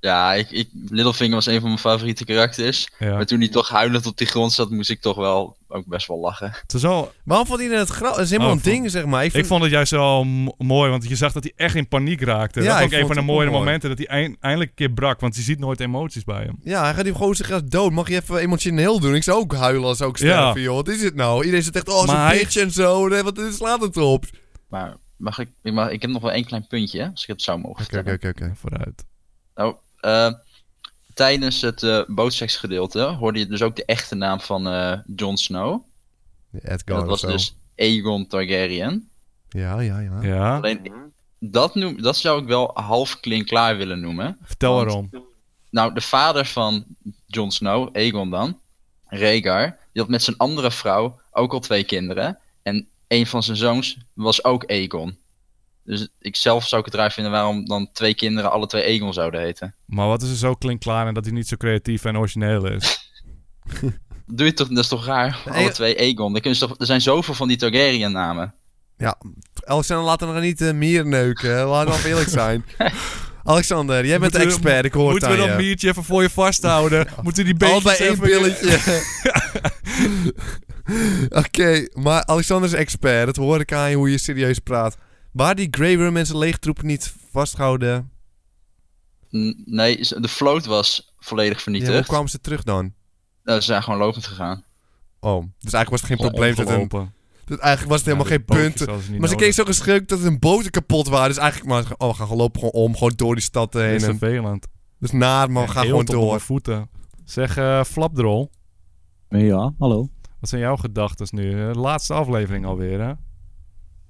D: Ja, ik, ik, Littlefinger was een van mijn favoriete karakters.
A: Ja.
D: Maar toen hij toch huilend op die grond zat, moest ik toch wel ook best wel lachen.
A: Het is wel-
B: Waarom vond iedereen het grappig? Dat is helemaal
A: Oh,
B: een
A: ik vond-
B: ding, zeg maar. Ik
A: ik
B: vind-
A: vond het juist wel m- mooi, want je zag dat hij echt in paniek raakte.
B: Ja,
A: dat
B: ik
A: vond ik een
B: vond
A: van de
B: het ook
A: mooie
B: mooi.
A: momenten, dat hij eind- eindelijk een keer brak. Want je ziet nooit emoties bij hem.
B: Ja, hij gaat die gozer graag dood. Mag je even emotioneel doen? Ik zou ook huilen als ik sterven, joh. Wat is dit nou? Iedereen zit echt, oh,
A: Maar
B: zo'n
A: hij-
B: bitch en zo. Nee, wat slaat het op?
D: Maar mag ik, ik, mag, ik heb nog wel één klein puntje, hè, als ik het zou mogen
B: Oké,
D: vertellen.
B: oké, oké, oké.
A: Vooruit.
D: Eh, tijdens het eh bootseksgedeelte hoorde je dus ook de echte naam van eh Jon Snow.
B: Edgar
D: dat
B: of
D: was
B: zo.
D: dus Aegon Targaryen.
B: Ja, ja, ja.
A: Ja,
D: Alleen, dat, noem, dat zou ik wel half klinklaar willen noemen.
A: vertel
D: want-
A: waarom.
D: Nou, de vader van Jon Snow, Aegon dan, Rhaegar, die had met zijn andere vrouw ook al twee kinderen. En een van zijn zoons was ook Aegon. Dus ik zelf zou ik het raar vinden waarom dan twee kinderen alle twee Aegon zouden heten.
A: Maar wat is er zo klinkklaar en dat hij niet zo creatief en origineel is?
D: Doe je toch, dat is toch raar?
B: Nee,
D: alle
B: ja.
D: twee Aegon. Er, kunnen ze toch, er zijn zoveel van die Targaryen namen.
B: Alexander, laat hem nog niet eh, mier neuken. hè. Laat nog eerlijk zijn. Alexander, jij bent de
A: Moeten we-
B: expert. Ik hoor het
A: Moeten we
B: aan
A: dat
B: je.
A: biertje even voor je vasthouden? Moeten die
B: Al
A: beetjes
B: bij één
A: even-
B: pilletje. Oké, maar Alexander is expert. Dat hoor ik aan je hoe je serieus praat. Waar die Grey Worm en zijn leegtroepen niet vasthouden...
D: N- Nee, ze- de vloot was volledig
B: Ja, hoe
D: vernietigd.
B: kwamen ze terug dan?
D: Nou, ze zijn gewoon lopend gegaan.
B: Oh, dus eigenlijk was het geen
A: Gewoon
B: probleem. Dat een,
A: opgelopen.
B: dat eigenlijk was het helemaal
A: Ja,
B: geen
A: die bootjes
B: punt.
A: hadden ze niet
B: Maar ze
A: nodig.
B: kregen zo geschrikt dat hun boten kapot waren. Dus eigenlijk, maar, oh, we gaan gewoon lopen gewoon om. Gewoon door die stad heen.
A: Dat is
B: en-
A: vervelend.
B: dat is naar, maar we gaan
A: Heel
B: gewoon
A: tot op mijn
B: door.
A: voeten. Zeg, eh Flapdrol,
E: Ja, hallo.
A: wat zijn jouw gedachten nu? Eh, laatste aflevering alweer, hè?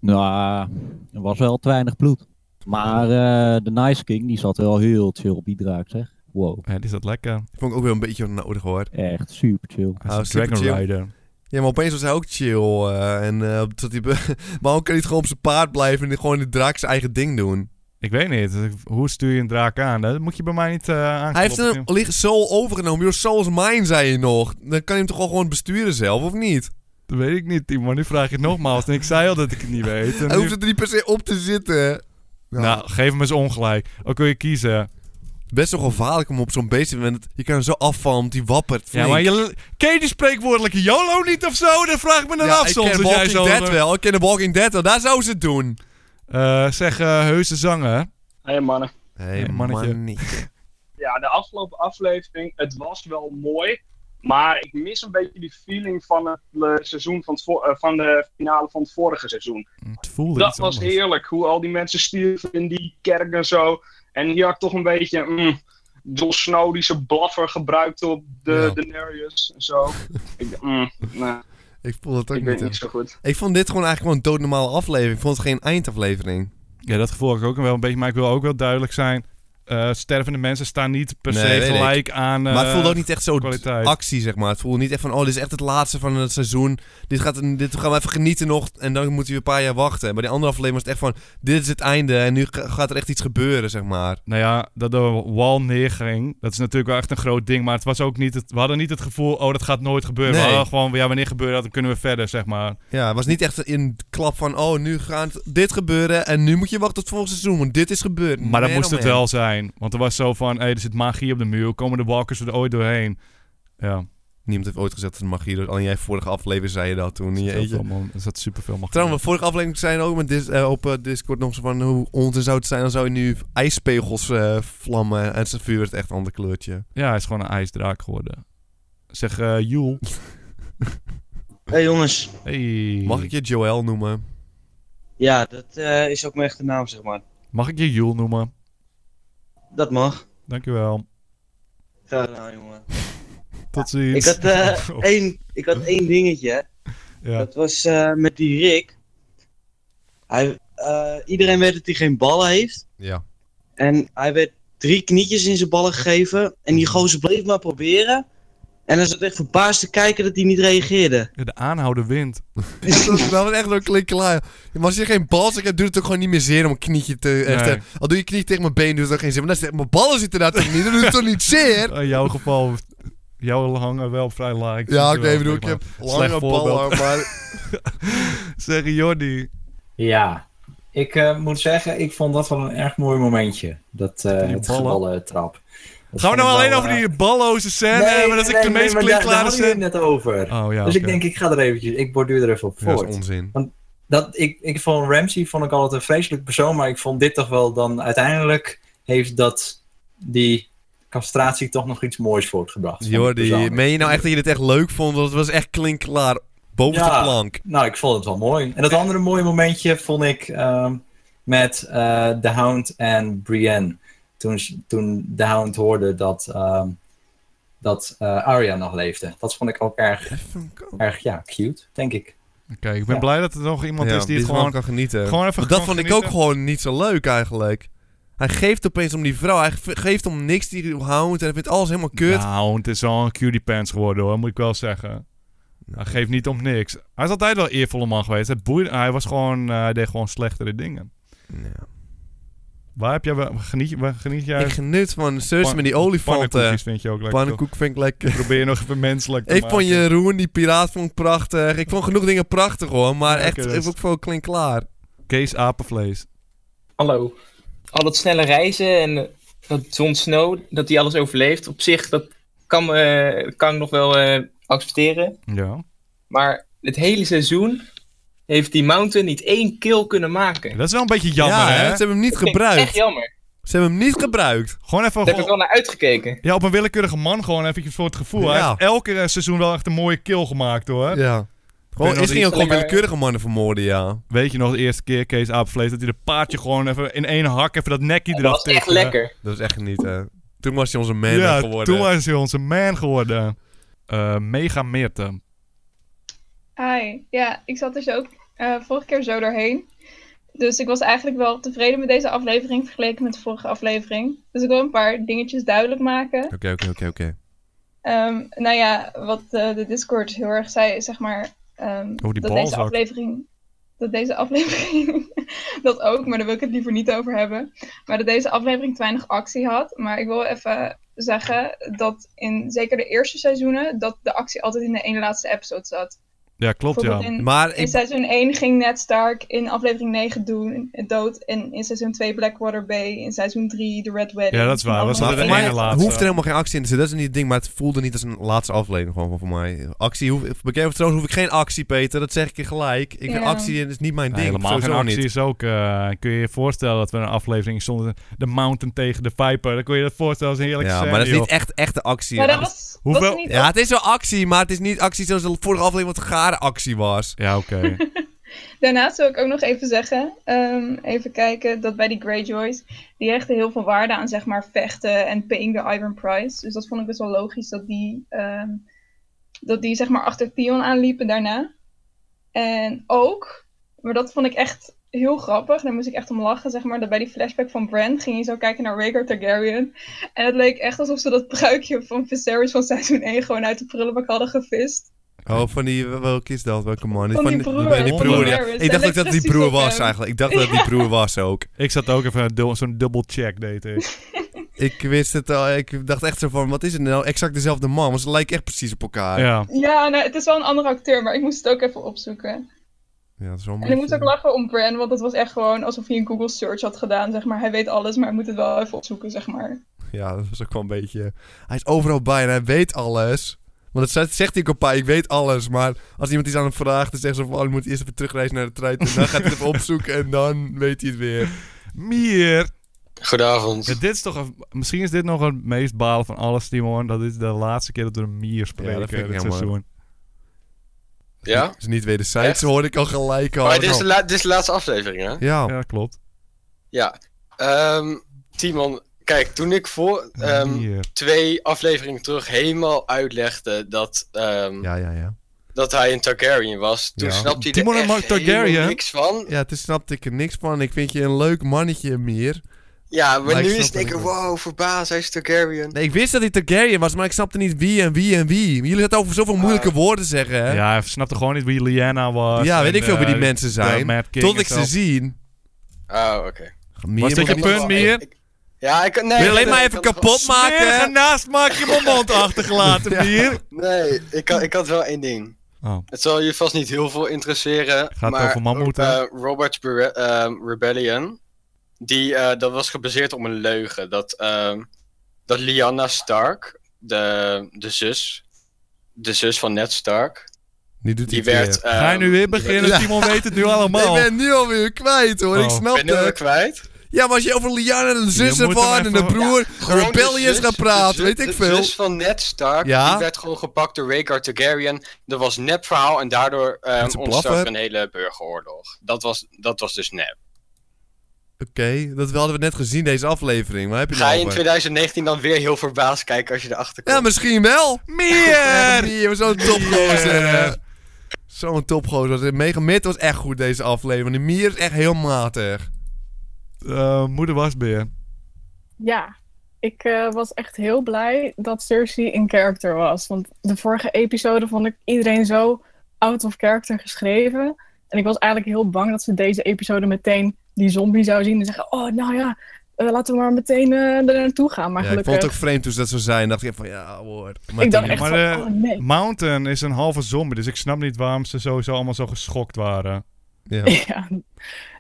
E: Nou, er was wel te weinig bloed. Maar eh, de Nice King, die zat wel heel chill op die draak, zeg. Wow,
A: Ja, die is dat lekker.
B: Ik vond ik ook weer een beetje nodig hoor.
E: echt super chill.
A: Hij
B: Oh,
A: is een
B: super
A: Dragon
B: chill.
A: Rider.
B: Ja, maar opeens was hij ook chill. eh, en eh tot die be- Waarom kan hij niet gewoon op zijn paard blijven en gewoon de draak zijn eigen ding doen?
A: Ik weet niet, eh, hoe stuur je een draak aan? Dat moet je bij mij niet eh
B: Hij heeft
A: aangeklopt-
B: hem liggen zo overgenomen. Your soul's mine, zei je nog. Dan kan hij hem toch wel gewoon besturen zelf, of niet?
A: Dat weet ik niet, Timon. Nu vraag je het nogmaals. En ik zei al dat ik het niet weet. En
B: Hij
A: nu-
B: hoeft er niet per se op te zitten. Ja.
A: Nou, geef hem eens ongelijk. Ook kun je kiezen.
B: Best wel gevaarlijk om op zo'n beest te want Je kan hem zo afvallen, want die wappert.
A: Ja, maar je... Ken je die spreekwoordelijke YOLO niet of zo? Dat vraag ik me dan
B: Ja,
A: af
B: ik
A: soms.
B: ken
A: als jij
B: Walking
A: zo-
B: Dead wel. Ik ken de Walking Dead wel. Daar zouden ze het doen.
A: Eh, zeg, eh heuse zanger.
F: Hey mannen.
B: Hey,
A: Hey, mannetje.
F: Ja, de afgelopen aflevering, het was wel mooi. Maar ik mis een beetje die feeling van het eh, seizoen van, het vo- eh, van de finale van het vorige seizoen.
A: Het voelde
F: Dat
A: iets
F: was
A: anders.
F: heerlijk, hoe al die mensen stierven in die kerk en zo. En hier had ik toch een beetje mm, Jon Snow die zijn blaffer gebruikte op de
B: Ja.
F: Daenerys en zo. ik, dacht, mm, nee.
B: Ik voel dat
F: ik
B: ook niet.
F: weet
B: hè.
F: niet zo goed.
B: Ik vond dit gewoon eigenlijk gewoon een doodnormale aflevering. Ik vond het geen eindaflevering.
A: Ja, dat gevoel heb ik ook wel een beetje. Maar ik wil ook wel duidelijk zijn. eh, stervende mensen staan niet per
B: Nee,
A: se
B: weet ik.
A: gelijk aan... eh,
B: maar het voelde ook niet echt zo
A: kwaliteit.
B: actie, zeg maar. Het voelde niet echt van, oh, dit is echt het laatste van het seizoen. Dit, gaat, een- dit gaan we even genieten nog en dan moeten we een paar jaar wachten. Bij die andere aflevering was het echt van, dit is het einde en nu ga- gaat er echt iets gebeuren, zeg maar.
A: Nou ja, dat de wal neerging. Dat is natuurlijk wel echt een groot ding. Maar het was ook niet... Het, we hadden niet het gevoel... Oh, dat gaat nooit gebeuren.
B: Nee.
A: We hadden gewoon... Ja, wanneer gebeurt dat? Dan kunnen we verder, zeg maar.
B: Ja, het was niet echt een klap van, oh, nu gaat dit gebeuren en nu moet je wachten tot volgend seizoen, want dit is gebeurd.
A: Maar dat
B: Man,
A: moest
B: oh
A: het
B: man.
A: wel zijn. Want er was zo van... Hey, er zit magie op de muur. Komen de walkers er ooit doorheen? Ja.
B: Niemand heeft ooit gezegd dat het magie is. Alleen jij vorige aflevering zei je dat toen. in je eentje.
A: Jeetje. Er zat superveel magie.
B: Trouwens, vorige aflevering zijn ook met dis- eh, op eh, Discord nog zo van hoe onzin zou het zijn dan zou je nu ijspegels eh, vlammen en zijn vuur werd echt een ander kleurtje.
A: Ja, hij is gewoon een ijsdraak geworden. Zeg, eh Joel.
G: Hey jongens,
A: Hey.
B: Mag ik je Joel noemen?
G: ja, dat eh, is ook mijn echte naam, zeg maar.
A: Mag ik je Joel noemen?
G: Dat mag.
A: Dankjewel.
G: Graag gedaan, jongen.
A: Tot ziens.
G: Ik had, eh,
A: Oh,
G: één, ik had één dingetje. hè.
A: ja.
G: Dat was eh, met die Rick. Hij, eh, iedereen weet dat hij geen ballen heeft.
B: Ja.
G: En hij werd drie knietjes in zijn ballen gegeven. En die gozer bleef maar proberen. En hij zat echt verbaasd te kijken dat hij niet reageerde.
A: Ja, De aanhouder wint.
B: dat was echt een klik klaar. Maar als je geen bal hebt, doet het ook gewoon niet meer zeer om een knietje te... echt,
A: Nee.
B: eh, al doe je knie tegen mijn been, doet het ook geen zin. Maar dan zit- mijn ballen zitten daar toch niet, dan doet het toch niet zeer?
A: In jouw geval, jouw hangen wel vrij laag.
B: Ja, oké, bedoel, ik heb lange
A: Slecht voorbeeld.
B: ballen, maar...
A: Zeg, Jordi.
H: Ja, ik eh, moet zeggen, ik vond dat wel een erg mooi momentje. Dat eh
A: Die
H: het
A: ballen.
H: geballen trap. Dat
A: Gaan we nou
H: vond ik
A: alleen
H: wel,
A: over
H: eh,
A: die balloze scène
H: nee,
A: hebben? Dat is
H: nee,
A: ik de
H: nee,
A: meest
H: maar daar- Daar
A: klikklare
H: hadden jullie
A: scène.
H: het net over.
A: Oh ja,
H: dus ik
A: oké.
H: denk, ik ga er eventjes, ik borduur er even op
B: Ja, dat
H: voort.
B: is onzin.
H: dat ik, ik vond Ramsey vond ik altijd een vreselijk persoon, maar ik vond dit toch wel dan uiteindelijk heeft dat die castratie toch nog iets moois voortgebracht. vond ik
B: Jordi,
H: persoonlijk.
B: meen je nou echt dat je dit echt leuk vond? Want het was echt klinkklaar. Boven
H: Ja.
B: de plank.
H: Nou, ik vond het wel mooi. En dat andere mooie momentje vond ik ehm, met eh The Hound en Brienne. Toen, ze- toen The Hound hoorde dat, ehm, dat eh, Arya nog leefde. Dat vond ik ook erg, erg ja, cute, denk ik.
A: Oké, ik ben
H: Ja.
A: blij dat er nog iemand
B: Ja,
A: is die
B: die
A: het gewoon...
B: kan genieten.
A: gewoon even
B: Want dat
A: kan
B: vond ik ook
A: genieten.
B: gewoon niet zo leuk eigenlijk. Hij geeft opeens om die vrouw. Hij ge- geeft om niks die hound. En hij vindt alles helemaal kut.
A: Nou, het is al een cutie pants geworden hoor, moet ik wel zeggen. Hij geeft niet om niks. Hij is altijd wel een eervolle man geweest. Het boeide, hij was gewoon, eh, hij deed gewoon slechtere dingen.
B: Ja.
A: Waar heb jij, waar geniet, je- waar geniet jij?
B: Ik geniet van Cersei
A: Pan-
B: met die olifanten.
A: Pannenkoekjes vind je ook lekker. toch?
B: Pannenkoek vind ik lekker.
A: Probeer je nog even menselijk te
B: Ik
A: maken.
B: vond Jeroen, die piraat, vond ik prachtig. Ik vond genoeg dingen prachtig hoor. Maar
A: Ja,
B: echt,
A: oké, dus. dat
B: ik
A: is-
B: vond ook klinkklaar.
A: Kees apenvlees.
I: Hallo. Al dat snelle reizen en eh, dat Jon Snow, dat hij alles overleeft, op zich, dat kan, me- kan ik nog wel eh, accepteren.
A: Ja.
I: Maar het hele seizoen heeft die Mountain niet één kill kunnen maken.
A: Dat is wel een beetje jammer
B: ja,
A: hè?
B: Ze hebben hem niet
I: Dat vind ik
B: gebruikt.
I: Echt jammer.
B: Ze hebben hem niet gebruikt.
A: Gewoon even...
I: Daar heb ik
A: gewoon-
I: wel naar uitgekeken.
A: ja, op een willekeurige man gewoon eventjes voor het gevoel. Hij
B: Ja.
A: heeft elke eh, seizoen wel echt een mooie kill gemaakt hoor.
B: Ja. Gewoon,
A: nog
B: is ging
A: iets-
B: ook gewoon
I: Alleen maar-
B: willekeurige mannen vermoorden, ja.
A: Weet je nog de eerste keer, Kees apenvlees, dat hij de paardje gewoon even in één hak even dat nekje
I: Dat
A: eraf
I: was echt
A: tikte?
I: lekker.
B: Dat is echt niet, hè. Toen was hij onze man
A: ja,
B: geworden.
A: toen was hij onze man geworden. Eh, mega Meerte.
J: Hi, ja, ik zat dus ook eh, vorige keer zo doorheen. Dus ik was eigenlijk wel tevreden met deze aflevering vergeleken met de vorige aflevering. Dus ik wil een paar dingetjes duidelijk maken.
B: Oké, oké, oké, oké.
J: Ehm, nou ja, wat eh, de Discord heel erg zei, is zeg maar ehm,
A: Oh, die
J: dat deze
A: balzak.
J: aflevering. Dat deze aflevering. dat ook, maar daar wil ik het liever niet over hebben. Maar dat deze aflevering te weinig actie had. Maar ik wil even zeggen dat in zeker de eerste seizoenen. dat de actie altijd in de ene laatste episode zat.
A: Ja, klopt ja.
J: Bijvoorbeeld in-
B: Maar
J: in
B: ik,
J: seizoen 1 ging Ned Stark in aflevering 9 doen, dood. En in seizoen 2 Blackwater Bay. In seizoen 3 de Red Wedding.
A: Ja, dat is waar.
J: En
A: Was
J: allemaal
A: dat
B: maar voor
A: de
J: dingen.
A: ene
B: mij
A: laatste.
B: hoeft er helemaal geen actie in te zitten. Dat is niet het ding, maar het voelde niet als een laatste aflevering gewoon voor mij. Actie, hoef, bekend of trouwens, hoef ik geen actie, Peter. Dat zeg ik je gelijk. Ik,
J: Ja.
B: Actie is niet mijn
A: Ja,
B: ding.
A: helemaal geen
B: sowieso
A: actie
B: niet.
A: is ook. eh, kun je je voorstellen dat we een aflevering zonder de Mountain tegen de Viper. Dan kun je dat voorstellen als een heerlijke
B: Ja,
A: scène,
B: maar dat is
A: joh.
B: niet echt echte actie.
J: Maar
B: Ja.
J: dat was, was
A: Hoeveel-
J: er niet
B: Ja, het is wel actie, maar het is niet actie zoals de vorige aflevering wat gare actie was.
A: Ja, oké.
J: Daarnaast wil ik ook nog even zeggen, ehm, even kijken, dat bij die Greyjoys, die hechten heel veel waarde aan zeg maar vechten en paying the Iron Price. Dus dat vond ik best wel logisch dat die ehm, dat die zeg maar achter Theon aanliepen daarna. En ook, maar dat vond ik echt heel grappig. Daar moest ik echt om lachen, zeg maar. Dat bij die flashback van Brand ging je zo kijken naar Rhaegar Targaryen. En het leek echt alsof ze dat pruikje van Viserys van seizoen 1 gewoon uit de prullenbak hadden gevist.
B: Oh, van die, welke is dat? Welke man?
J: Van die broer,
B: van die
J: van
B: broer, ja.
J: Daenerys.
B: Ik
J: Hij
B: dacht
J: lijkt
B: ook dat die
J: precies
B: broer
J: op
B: was
J: hem.
B: eigenlijk. Ik dacht dat die broer was ook.
A: Ik zat ook even dul- zo'n double check deed ik.
B: Ik wist het al, ik dacht echt zo van, wat is het nou? Exact dezelfde man, want ze lijken echt precies op elkaar.
A: Ja.
J: Ja, nou, het is wel een andere acteur, maar ik moest het ook even opzoeken.
B: Ja, dat is wel een
J: En ik
B: beetje-
J: moest ook lachen om Bran, want dat was echt gewoon alsof hij een Google search had gedaan, zeg maar. Hij weet alles, maar hij moet het wel even opzoeken, zeg maar.
B: Ja, dat was ook wel een beetje... Hij is overal bij en hij weet alles. Want dat zegt- zegt hij ook een paar, ik weet alles. Maar als iemand iets aan hem vraagt, dan zegt ze van, oh, je moet eerst even terugreizen naar de trein. En dan gaat hij het even opzoeken en dan weet hij het weer.
A: Mier.
K: Goedenavond.
A: Ja, dit is toch een- misschien is dit nog het meest balen van alles, Timon. Dat is de laatste keer dat we een mier
B: Ja,
A: spreken
B: dat vind ik
A: dit
B: jammer.
A: seizoen.
K: Ja?
B: Dus niet wederzijds, hoorde ik al gelijk al.
K: Maar dit is, de
B: Nou,
K: la- dit is de laatste aflevering, hè?
B: Ja.
A: Ja, klopt.
K: Ja. Ehm, Timon, kijk, toen ik voor ehm,
A: Mier.
K: twee afleveringen terug helemaal uitlegde dat, ehm,
B: ja, ja, ja.
K: dat hij een Targaryen was, toen
B: Ja.
K: snapte hij
A: Timon en
K: er
A: Mark
K: echt helemaal
A: Targaryen?
K: niks van.
B: Ja, toen snapte ik er niks van. Ik vind je een leuk mannetje, Mier.
K: Ja, maar,
B: Maar ik
K: nu
B: snap
K: is het
B: er
K: ik,
B: niks van.
K: wow, verbaasd, hij is Targaryen.
B: Nee, ik wist dat hij Targaryen was, maar ik snapte niet wie en wie en wie. Jullie hadden over zoveel moeilijke
K: Ah.
B: woorden zeggen, hè?
A: Ja, hij snapte gewoon niet wie Lyanna was.
B: Ja, weet
A: en,
B: ik veel wie
A: eh,
B: die mensen
A: de
B: zijn.
A: Mad King
B: Tot
A: en
B: ik
A: zo.
B: ze zie.
K: Oh, oké.
B: Mier
A: Was dit
B: moet
A: je
B: niet-
A: punt, Mier?
K: Ik- Ja, ik kan... Nee,
B: Wil je alleen
K: nee,
B: maar
K: ik
B: even
K: had-
B: kapot maken?
A: Smerige naast maak je mijn mond achtergelaten, Mier.
K: Nee, ik had, ik had wel één ding.
A: Oh.
K: Het zal je vast niet heel veel interesseren.
A: Gaat
K: maar,
A: over mammoeten?
K: eh, Robert's Bere- ehm, Rebellion. Die, eh, dat was gebaseerd op een leugen. Dat, ehm, dat Lyanna Stark, de, de zus. De zus van Ned Stark.
B: Nu doet hij
K: Die
B: het weer.
K: werd. eh,
A: Ga je nu weer beginnen?
B: Ja.
A: Timon weet het nu allemaal.
B: Ik ben nu alweer kwijt hoor, ik
A: Oh.
B: snap
K: ben je hem
B: het.
K: kwijt?
B: Ja, maar als je over Liana en de zus
A: Je moet hem
B: ervan en de
A: even-
B: broer,
K: Gewoon de
B: Rebellions
K: zus-
B: gaat praten,
K: de
B: weet
K: zus-
B: ik
K: De
B: veel.
K: zus van Ned Stark.
B: Ja?
K: Die werd gewoon gepakt door Rhaegar Targaryen. Dat was nep verhaal en daardoor ehm,
B: Dat is een
K: ontstak
B: blaffer.
K: een hele burgeroorlog. Dat was, dat was dus nep.
B: Oké, dat hadden we net gezien deze aflevering, waar heb je
K: Ga je
B: nou
K: in
B: over?
K: 2019 dan weer heel verbaasd kijken als je erachter komt?
B: Ja, misschien wel. Meer! Meer, zo'n topgozer. hè. Zo'n topgozer. Mega Mid was echt goed deze aflevering. De Mier is echt heel matig.
A: Eh, moeder wasbeer.
L: Ja, ik eh, was echt heel blij dat Cersei in character was. Want de vorige episode vond ik iedereen zo out of character geschreven. En ik was eigenlijk heel bang dat ze deze episode meteen die zombie zou zien. En zeggen, oh nou ja, eh, laten we maar meteen eh er naartoe gaan. Maar
B: ja, ik
L: gelukkig,
B: vond het ook vreemd toen ze dat zo zijn. dacht ik van, ja hoor. Maar
L: ik dacht
B: toen-
L: echt
A: maar,
L: van,
A: eh,
L: oh nee.
A: Mountain is een halve zombie, dus ik snap niet waarom ze sowieso allemaal zo geschokt waren.
B: ja.
L: Ja,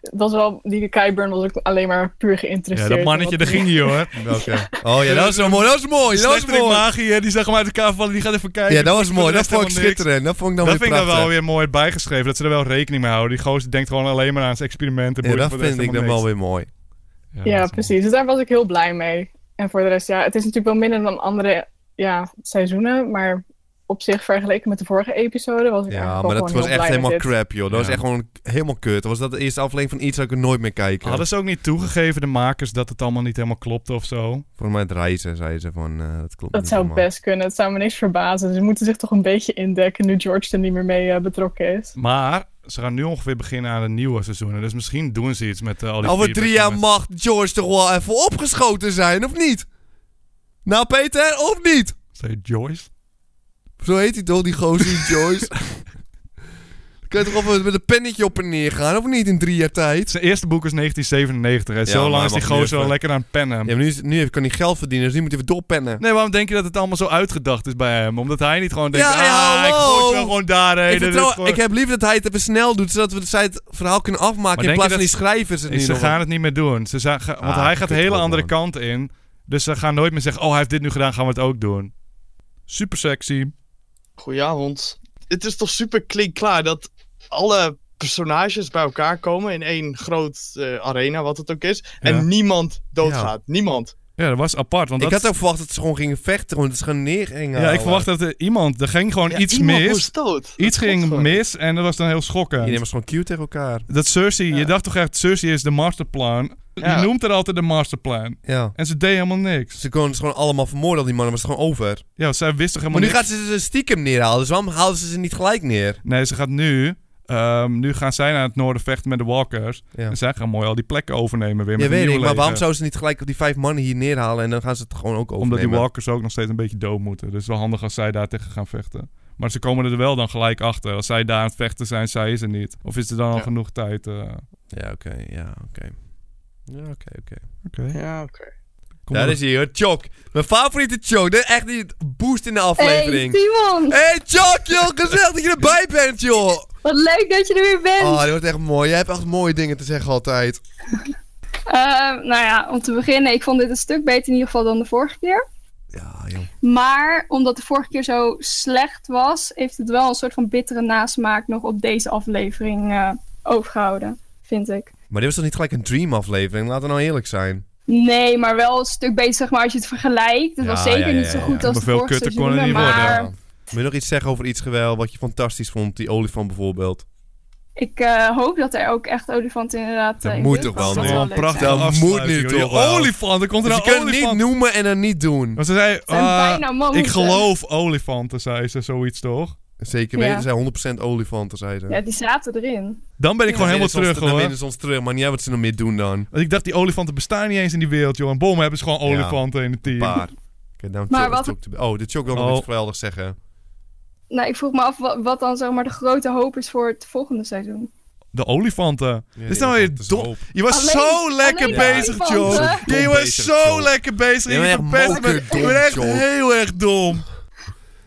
L: het was wel, die Kyburn was ook alleen maar puur
A: Ja,
L: geïnteresseerd.
A: dat
L: in
A: mannetje,
L: wat
A: daar
L: die-
A: ging je hoor.
B: Oké. Oh ja, dat was wel mooi, dat was mooi, dat was
A: Slechterik
B: mooi.
A: magie, hè, die zag hem uit elkaar vallen, die gaat even kijken.
B: Ja, dat was
A: Die
B: mooi, dat
A: doet
B: vond ik
A: helemaal niks.
B: schitterend. Dat vond ik dan
A: Dat
B: weer
A: vind ik dan
B: prachtig.
A: wel weer mooi bijgeschreven, dat ze er wel rekening mee houden. Die gozer denkt gewoon alleen maar aan zijn experimenten.
B: Ja,
A: boeit
B: dat
A: voor de rest
B: vind ik dan
A: helemaal
B: wel weer mooi.
A: niks.
L: Ja,
A: dat is mooi.
L: precies. Dus daar was ik heel blij mee. En voor de rest, ja, het is natuurlijk wel minder dan andere ja, seizoenen. Maar op zich, vergeleken met de vorige episode, was ik
B: Ja,
L: eigenlijk
B: maar
L: wel
B: dat
L: gewoon
B: was
L: heel
B: echt
L: blij met
B: helemaal
L: dit.
B: crap, joh. Dat was
A: Ja.
B: echt gewoon helemaal kut. Dat was dat de eerste aflevering van iets dat ik er nooit meer kijken.
A: Hadden ze ook niet toegegeven, de makers, dat het allemaal niet helemaal klopte of zo?
B: Voor mij het reizen, zei ze van, eh, dat klopt
L: Dat
B: niet
L: zou
B: helemaal.
L: best kunnen. Het zou me niks verbazen. Ze moeten zich toch een beetje indekken nu George er niet meer mee eh, betrokken is.
A: Maar ze gaan nu ongeveer beginnen aan een nieuwe seizoenen, dus misschien doen ze iets met eh, al die
B: Over
A: feedback
B: drie
A: van
B: jaar
A: mensen.
B: mag George toch wel even opgeschoten zijn, of niet? Nou, Peter, of niet?
A: Zei Joyce?
B: Zo heet hij toch, die gozer, die Joyce? Kun je toch wel met een pennetje op en neer gaan, of niet, in drie jaar tijd?
A: Zijn eerste boek is 1997 en
B: Ja,
A: zo
B: maar
A: lang
B: hij
A: is die
B: mag nu
A: gozer
B: even-
A: al lekker aan het pennen.
B: Ja, maar nu, is- nu heeft- kan hij geld verdienen, dus nu moet hij even doorpennen.
A: Nee, waarom denk je dat het allemaal zo uitgedacht is bij hem? Omdat hij niet gewoon denkt,
B: Ja, ja,
A: ah, ik
B: hallo.
A: gooi het wel gewoon daarheen.
B: ik,
A: dit is
B: vertrouw-
A: gewoon-
B: ik heb liever dat hij het even snel doet, zodat we het, zij het verhaal kunnen afmaken
A: Maar
B: in
A: denk
B: plaats
A: je
B: van die
A: dat-
B: schrijvers het
A: Nee,
B: nu
A: ze
B: nog-
A: gaan het niet meer doen. Ze zijn, ga- want
B: Ah,
A: hij gaat
B: kut
A: hele
B: wel,
A: andere
B: man.
A: kant in. Dus ze gaan nooit meer zeggen, oh, hij heeft dit nu gedaan, gaan we het ook doen. Super sexy.
M: Goedenavond. Het is toch super klinkklaar dat alle personages bij elkaar komen in één groot eh, arena, wat het ook is.
A: Ja.
M: En niemand doodgaat. Niemand.
A: Ja, dat was apart. Want
B: ik
A: dat-
B: had ook verwacht dat ze gewoon gingen vechten, want het is gewoon neer gingen
A: ja, ik
B: houden.
A: verwacht dat er iemand, er ging gewoon
M: Ja,
A: iets
M: iemand
A: mis.
M: moest dood. Dat
A: Iets
M: klopt
A: ging
M: gewoon.
A: mis en dat was dan heel schokkend.
B: Iedereen was gewoon cute tegen elkaar.
A: Dat Cersei, je dacht toch echt, Cersei is de masterplan. Je noemt er altijd de masterplan.
B: Ja.
A: En ze deden helemaal niks.
B: Ze konden ze gewoon allemaal vermoorden, al die mannen, maar het is gewoon over.
A: Ja, zij wisten helemaal
B: Maar nu
A: niks.
B: gaat ze ze stiekem neerhalen, dus waarom halen ze ze niet gelijk neer?
A: Nee, ze gaat nu. ehm, nu gaan zij naar het noorden vechten met de walkers. En zij gaan mooi al die plekken overnemen weer. Met een
B: Ja, weet
A: nieuw
B: ik, maar waarom
A: leger.
B: zouden ze niet gelijk die vijf mannen hier neerhalen en dan gaan ze het gewoon ook overnemen?
A: Omdat die walkers ook nog steeds een beetje dood moeten. Dus het is wel handig als zij daar tegen gaan vechten. Maar ze komen er wel dan gelijk achter. Als zij daar aan het vechten zijn, zij is er niet. Of is er dan al
M: Ja.
A: genoeg tijd? eh,
B: Ja, oké. ja, oké. Ja, oké, oké.
M: Ja, oké.
A: Kom
B: Daar
A: maar.
B: is hij, hoor. Chok. Mijn favoriete Chok. Dat is echt die boost in de aflevering.
N: Hey, Simon!
B: Hey, Chok, joh. Gezellig dat je erbij bent, joh.
N: Wat leuk dat je er weer bent!
B: Oh, dit wordt echt mooi. Jij hebt echt mooie dingen te zeggen altijd.
N: Ehm, nou ja, om te beginnen, ik vond dit een stuk beter in ieder geval dan de vorige keer.
B: Ah,
N: Ja, joh. Maar omdat de vorige keer zo slecht was, heeft het wel een soort van bittere nasmaak nog op deze aflevering eh, overgehouden, vind ik.
B: Maar dit was toch niet gelijk een dream aflevering? Laten we nou eerlijk zijn.
N: Nee, maar wel een stuk beter, zeg maar, als je het vergelijkt. Het
B: Ja,
N: was zeker
B: ja, ja,
N: niet zo
B: ja,
N: goed
B: ja.
N: als de vorige seizoenen, maar
B: Wil je nog iets zeggen over iets geweld wat je fantastisch vond? Die olifant bijvoorbeeld.
N: ik eh, hoop dat er ook echt olifanten inderdaad eh,
B: Dat
N: in
B: moet
N: beeld
B: toch wel,
N: komen.
B: nee.
N: Dat zou
B: Dat
N: wel leuk zijn.
B: moet nu toch wel.
A: Olifant, er komt er
B: Dus
A: een
B: je kunt het
A: olifant.
B: niet noemen en dan niet doen.
A: Maar ze zei,
N: zijn
A: ah,
N: bijna mammoeten.
A: ik geloof olifanten, zei ze, zoiets toch?
B: Zeker
N: weten, Ja.
B: zijn 100% olifanten, zei ze.
N: Ja, die zaten erin.
A: Dan ben ik gewoon helemaal terug,
B: Dan
A: hoor.
B: winnen ze ons terug, maar niet uit wat ze nog meer doen dan.
A: Want ik dacht, die olifanten bestaan niet eens in die wereld, joh. En bom hebben ze gewoon olifanten in het team.
B: paar. Oké, dan
N: Maar
B: Chok-
N: wat-
B: Chok te- Oh, de Chok wil nog
A: Oh.
B: iets geweldigs zeggen.
N: Nou, ik vroeg me af wat, wat dan zeg maar de grote hoop is voor het volgende seizoen.
A: De olifanten. Dit is nou weer dom. Je was
N: Alleen-
A: zo lekker
N: alleen de
A: bezig,
N: olifanten.
A: Joe.
N: Zo
A: Ja, je
B: dom
A: was
B: bezig,
A: zo
B: Joe.
A: lekker bezig.
B: Je
A: Je,
B: bent echt
A: verpest me.
B: mokerdom,
A: Je bent echt
B: Joe.
A: heel erg dom.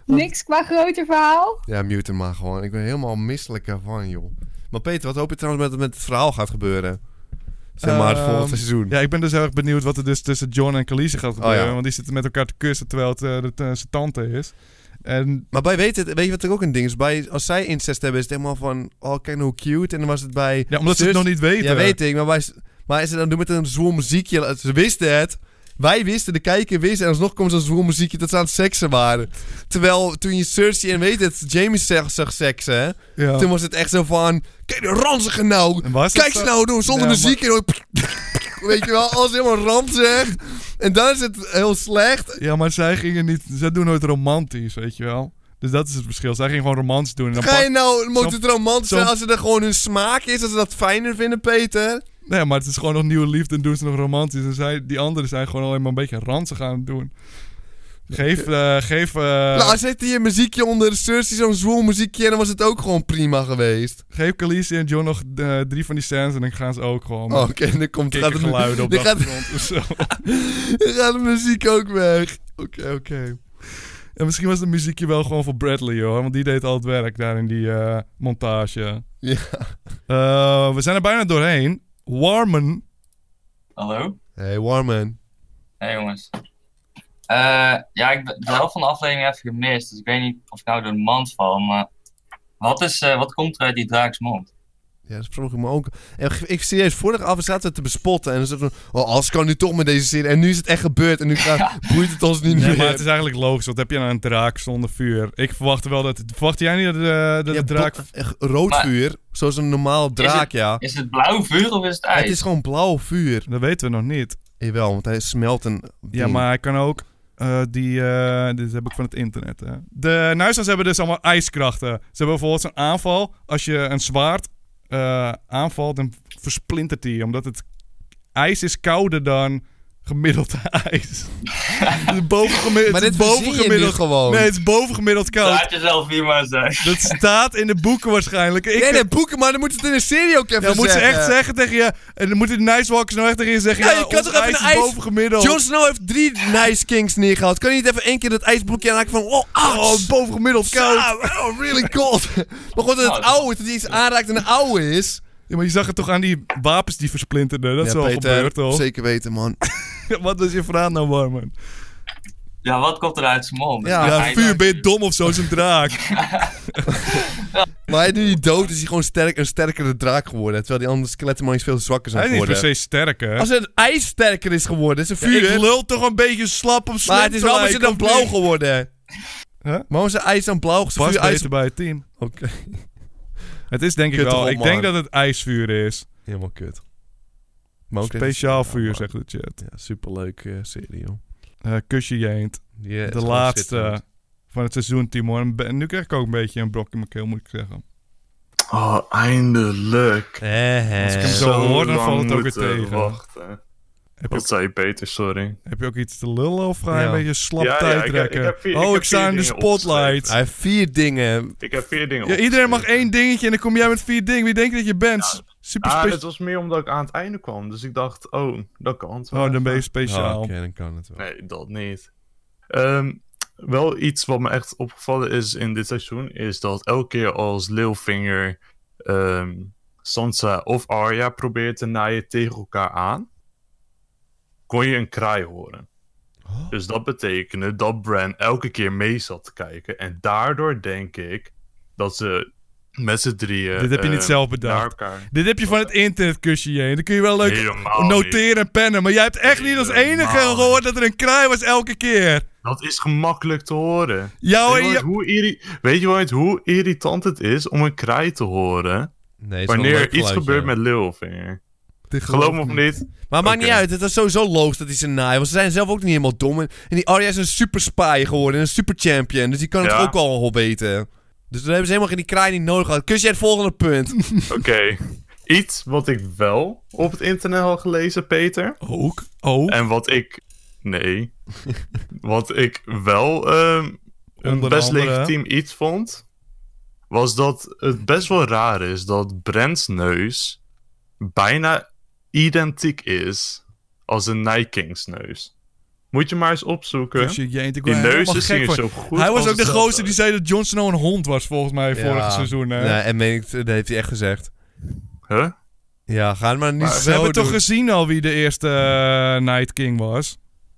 N: Niks qua groter verhaal.
B: Ja, mute hem maar gewoon. Ik ben helemaal misselijk ervan, joh. Maar Peter, wat hoop je trouwens met, met het verhaal gaat gebeuren? Zeg maar het
A: Ehm,
B: volgende seizoen.
A: Ja, ik ben dus heel erg benieuwd wat er dus tussen John en Khaleesi gaat gebeuren.
B: Oh, ja.
A: Want die zitten met elkaar te kussen terwijl het eh, dat, eh, zijn tante is. En
B: Maar bij weet, het, weet je wat er ook een ding is? Bij, als zij incest hebben, is het helemaal van... Oh, kijk nou hoe cute. En dan was het bij...
A: Ja, omdat ze het
B: zus-
A: nog niet weten.
B: Ja, weet ik. Maar, bij, maar is het dan doen met een zwoel muziekje? Ze wisten het. Wij wisten, de kijker wist. En alsnog komt zo'n zwoel muziekje dat ze aan het seksen waren. Terwijl toen je Cersei en weet het, Jamie zag, zag seksen. hè,
A: Ja.
B: Toen was het echt zo van... Kijk, de ranzige nou.
A: was het
B: Kijk ze
A: zo?
B: nou doen, zonder
A: Ja,
B: muziek. En dan- weet je wel, alles helemaal ranzig. En dan is het heel slecht.
A: Ja, maar zij gingen niet... Zij doen nooit romantisch, weet je wel. Dus dat is het verschil. Zij gingen gewoon romantisch doen. En dan
B: Ga je
A: pak-
B: nou, moet
A: zo'n-
B: het romantisch zijn
A: zo'n-
B: als het er gewoon hun smaak is, als ze dat fijner vinden, Peter?
A: Nee, maar het is gewoon nog nieuwe liefde en doen ze nog romantisch. En zij, die anderen zijn gewoon alleen maar een beetje ranzig aan het doen. Geef... eh, geef eh,
B: Nou, zet hier een muziekje onder Cersei, zo'n zwoel muziekje, en dan was het ook gewoon prima geweest.
A: Geef Khaleesi en John nog eh, drie van die scènes en dan gaan ze ook gewoon...
B: Oh, oké, dan komt- gaat het-
A: geluiden op de
B: dan gaat-
A: achtergrond of zo.
B: Dan gaat de muziek ook weg. Oké, oké.
A: En misschien was het muziekje wel gewoon voor Bradley, hoor. Want die deed al het werk daar in die eh, montage.
B: Ja.
A: Eh, we zijn er bijna doorheen. Warman.
I: Hallo?
B: Hey, Warman.
I: Hey jongens. Eh, ja, ik ben de helft van de aflevering heb ik gemist, dus ik weet niet of ik nou door de mand val, maar wat, is, eh, wat komt er uit die draaks mond?
B: Ja, dat vroeg ik me ook. En ik- ik serieus, vorige af zaten we te bespotten. En dan zaten we van, oh, als kan nu toch met deze serie. En nu is het echt gebeurd. En nu gaat, boeit het ons niet
A: Nee,
B: meer.
A: maar het is eigenlijk logisch. Wat heb je nou een draak zonder vuur? Ik verwachtte wel dat... Verwachtte jij niet dat, eh, dat de draak...
B: Echt rood vuur, zoals een normaal draak, ja.
I: Is het blauw vuur of is het ijs?
B: Het is gewoon blauw vuur.
A: Dat weten we nog niet.
B: Jawel, want hij smelt een
A: Ja,
B: ding.
A: maar hij kan ook eh, die... eh, dit heb ik van het internet, hè. De Nuisans hebben dus allemaal ijskrachten. Ze hebben bijvoorbeeld zo'n aanval. Als je een zwaard eh, aanvalt, dan versplintert die. Omdat het ijs is kouder dan gemiddeld ijs. Het is bovengemiddeld,
B: Maar
A: het is
B: dit verzin je
A: bovengemiddeld-
B: nu gewoon.
A: Nee, het is bovengemiddeld koud.
I: Laat jezelf hier maar zijn.
A: Dat staat in de boeken waarschijnlijk. Ik,
B: Nee, nee, boeken, maar dan moet het in de serie ook even
A: dan moet ze
B: zeggen.
A: echt zeggen tegen je... En dan moeten de Nice Walkers nou echt tegen je zeggen...
B: Ja,
A: Ja,
B: je kan
A: ons
B: toch even
A: ijs
B: een
A: is
B: ijs...
A: bovengemiddeld.
B: Jon Snow heeft drie Nice Kings neergehaald. Kan je niet even één keer dat ijsblokje aanraken van... Oh, ah,
A: Oh, bovengemiddeld koud.
B: sa- Oh, really cold. maar gewoon dat het oude is, dat hij iets aanraakt en een oude is.
A: Ja, maar je zag het toch aan die wapens die versplinterden. Dat is
B: Ja,
A: wel
B: Peter,
A: gebeurd, toch?
B: Zeker weten, man.
A: Wat was je vraag nou, Warman?
I: Ja, wat komt er uit zijn mond?
A: Ja,
I: Hij- hij-
A: vuur, ben je dom of zo? Zo'n draak.
B: maar hij nu niet dood is, hij gewoon sterk, een sterkere draak geworden. Terwijl die andere skeletten iets veel te zwakker zijn
A: Hij is niet
B: geworden.
A: per se sterker.
B: Als het ijs sterker is geworden, is een
A: Ja,
B: vuur.
A: ik lul toch een beetje slap op slim
B: maar het is
A: te
B: wel een beetje
A: lijken,
B: dan
A: of
B: blauw
A: niet?
B: geworden.
A: Huh?
B: Waarom is het ijs dan blauw? Is het
A: Pas
B: vuur ijs...
A: beter bij het team.
B: Oké.
A: Het is denk ik
B: Kut
A: wel.
B: erop,
A: Ik denk
B: man.
A: dat het ijsvuur is.
B: Helemaal kut. Maar ook
A: Speciaal voor u, zegt de chat.
B: Ja, superleuke serie, joh.
A: Eh, kusje Jeent.
B: Ja, het is
A: de
B: gewoon
A: laatste
B: schitterend.
A: van het seizoen, Timor. En be- En nu krijg ik ook een beetje een brok in mijn keel, moet ik zeggen.
O: Oh, eindelijk.
B: eh,
A: Als ik hem zo hoor, dan valt het ook weer tegen.
O: Wachten. Wat zei je, Peter? Sorry.
A: Heb je ook iets te lullen of ga je
O: Ja.
A: een beetje slap
O: Ja, ja,
A: tijd
O: ik heb- ik
A: trekken?
O: heb vier- ik
A: oh,
O: heb
A: ik sta
O: vier
A: in de
O: dingen
A: spotlight.
O: opgeschreven. Hij heeft
B: vier dingen.
O: Ik heb vier dingen
A: Ja,
O: op.
A: iedereen mag één dingetje en dan kom jij met vier dingen. Wie denkt dat je bent? Super
O: Ah,
A: speciaal.
O: het was meer omdat ik aan het einde kwam. Dus ik dacht, oh, dat kan het wel
A: Oh, dan
O: even.
A: ben je speciaal.
B: Oh, oké, dan kan het wel.
O: Nee, dat niet. Ehm, wel iets wat me echt opgevallen is in dit seizoen... is dat elke keer als Littlefinger ehm, Sansa of Arya probeert te naaien tegen elkaar aan... kon je een kraai horen.
A: Oh.
O: Dus dat betekende dat Bran elke keer mee zat te kijken. En daardoor denk ik dat ze met z'n drieën...
A: Dit heb je niet
O: ehm,
B: Eh,
A: zelf
B: nou,
O: naar
A: bedacht.
O: elkaar-
A: Dit heb je van het internet kusje heen. Dan kun je wel leuk
O: Helemaal
A: noteren en pennen. Maar jij hebt echt niet als enige
O: Helemaal
A: gehoord dat er een kraai was elke keer.
O: Dat is gemakkelijk te horen.
A: Ja,
O: weet, je wel
A: en Oh, ja-
O: eens hoe irri- weet je wel eens hoe irritant het is om een kraai te horen
B: is wel een
O: wanneer
B: leuk
O: iets
B: geluid,
O: gebeurt
B: ja.
O: met Littlefinger?
B: Dit
O: Geloof me of niet.
B: Maar maakt niet
O: Oké.
B: uit, het is sowieso logisch dat hij zijn naai was. Ze zijn zelf ook niet helemaal dom. En en die Arya is een super spy geworden en een super champion. Dus die kan
O: Ja.
B: het ook al wel weten. Dus dan hebben ze helemaal geen die kraai niet nodig gehad. Kus je het volgende punt.
O: Oké. Iets wat ik wel op het internet had gelezen, Peter.
A: Ook.
B: Oh?
A: Ook.
O: En wat ik. Nee. wat ik wel ehm, een
A: Onder
O: best
A: andere.
O: legitiem iets vond. Was dat het best wel raar is dat Brent's neus bijna identiek is als een Night King's neus. Moet je maar eens opzoeken.
A: Kusje Jeent, ik
O: Die
A: word helemaal
O: neuzen
A: gek
O: zien er
A: van.
O: zo goed
A: Hij was
O: als
A: ook de
O: hetzelfde.
A: grootste die zei dat Jon Snow een hond was, volgens mij, vorig
B: Ja.
A: seizoen. Hè?
B: Ja, en meen ik, dat heeft hij echt gezegd.
O: Huh?
B: Ja, ga het maar niet
A: Maar
B: zo
A: we hebben
B: doen.
A: toch gezien al wie de eerste eh, Night King was?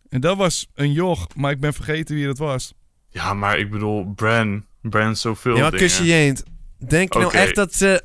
A: En dat was een joch, maar ik ben vergeten wie dat was.
O: Ja, maar ik bedoel, Bran. Bran zoveel.
B: Ja, maar
O: dingen.
B: kusje jeent. Denk je
O: Oké.
B: nou echt dat ze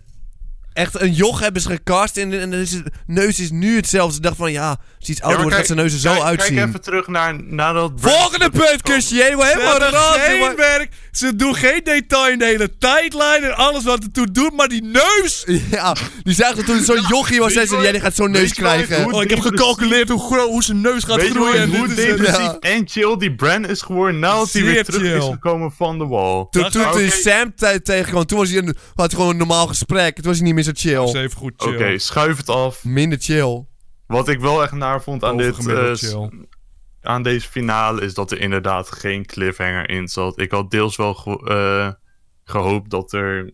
B: echt een joch hebben ze gecast en, en dan is het- neus is nu hetzelfde. Ze dachten van ja, als iets
O: Ja, maar
B: ouder wordt, gaat zijn neus er zo
O: kijk-
B: uitzien.
O: Kijk even terug naar, naar dat...
B: Volgende punt, kusje jeent. Helemaal
A: Ze hebben
B: rand,
A: geen
B: jongen.
A: werk. Ze doen geen detail in de hele tijdlijn en alles wat het toe doet, maar die neus.
B: Ja, die zagen toen zo'n jochie was en zei, jij die gaat zo'n neus krijgen.
A: Oh, ik heb gecalculeerd hoe, gro- hoe zijn neus gaat
O: Weet je wel
A: groeien. en
O: hoe
A: dit is het.
O: depressief en chill die Bran is geworden nadat hij weer
B: Zeer
O: terug
B: chill.
O: is gekomen van de wall.
B: Toen, toen, toen hij Sam te- tegenkwam, toen was hij een, had hij gewoon een normaal gesprek. Toen was hij niet meer zo chill.
A: Ze heeft goed
O: Oké, schuif het af.
B: Minder chill.
O: Wat ik wel echt naar vond aan, dit, eh,
B: Bovengemiddeld
O: s-
A: Nou,
B: chill.
O: aan deze finale is dat er inderdaad geen cliffhanger in zat. Ik had deels wel ge- eh, gehoopt dat er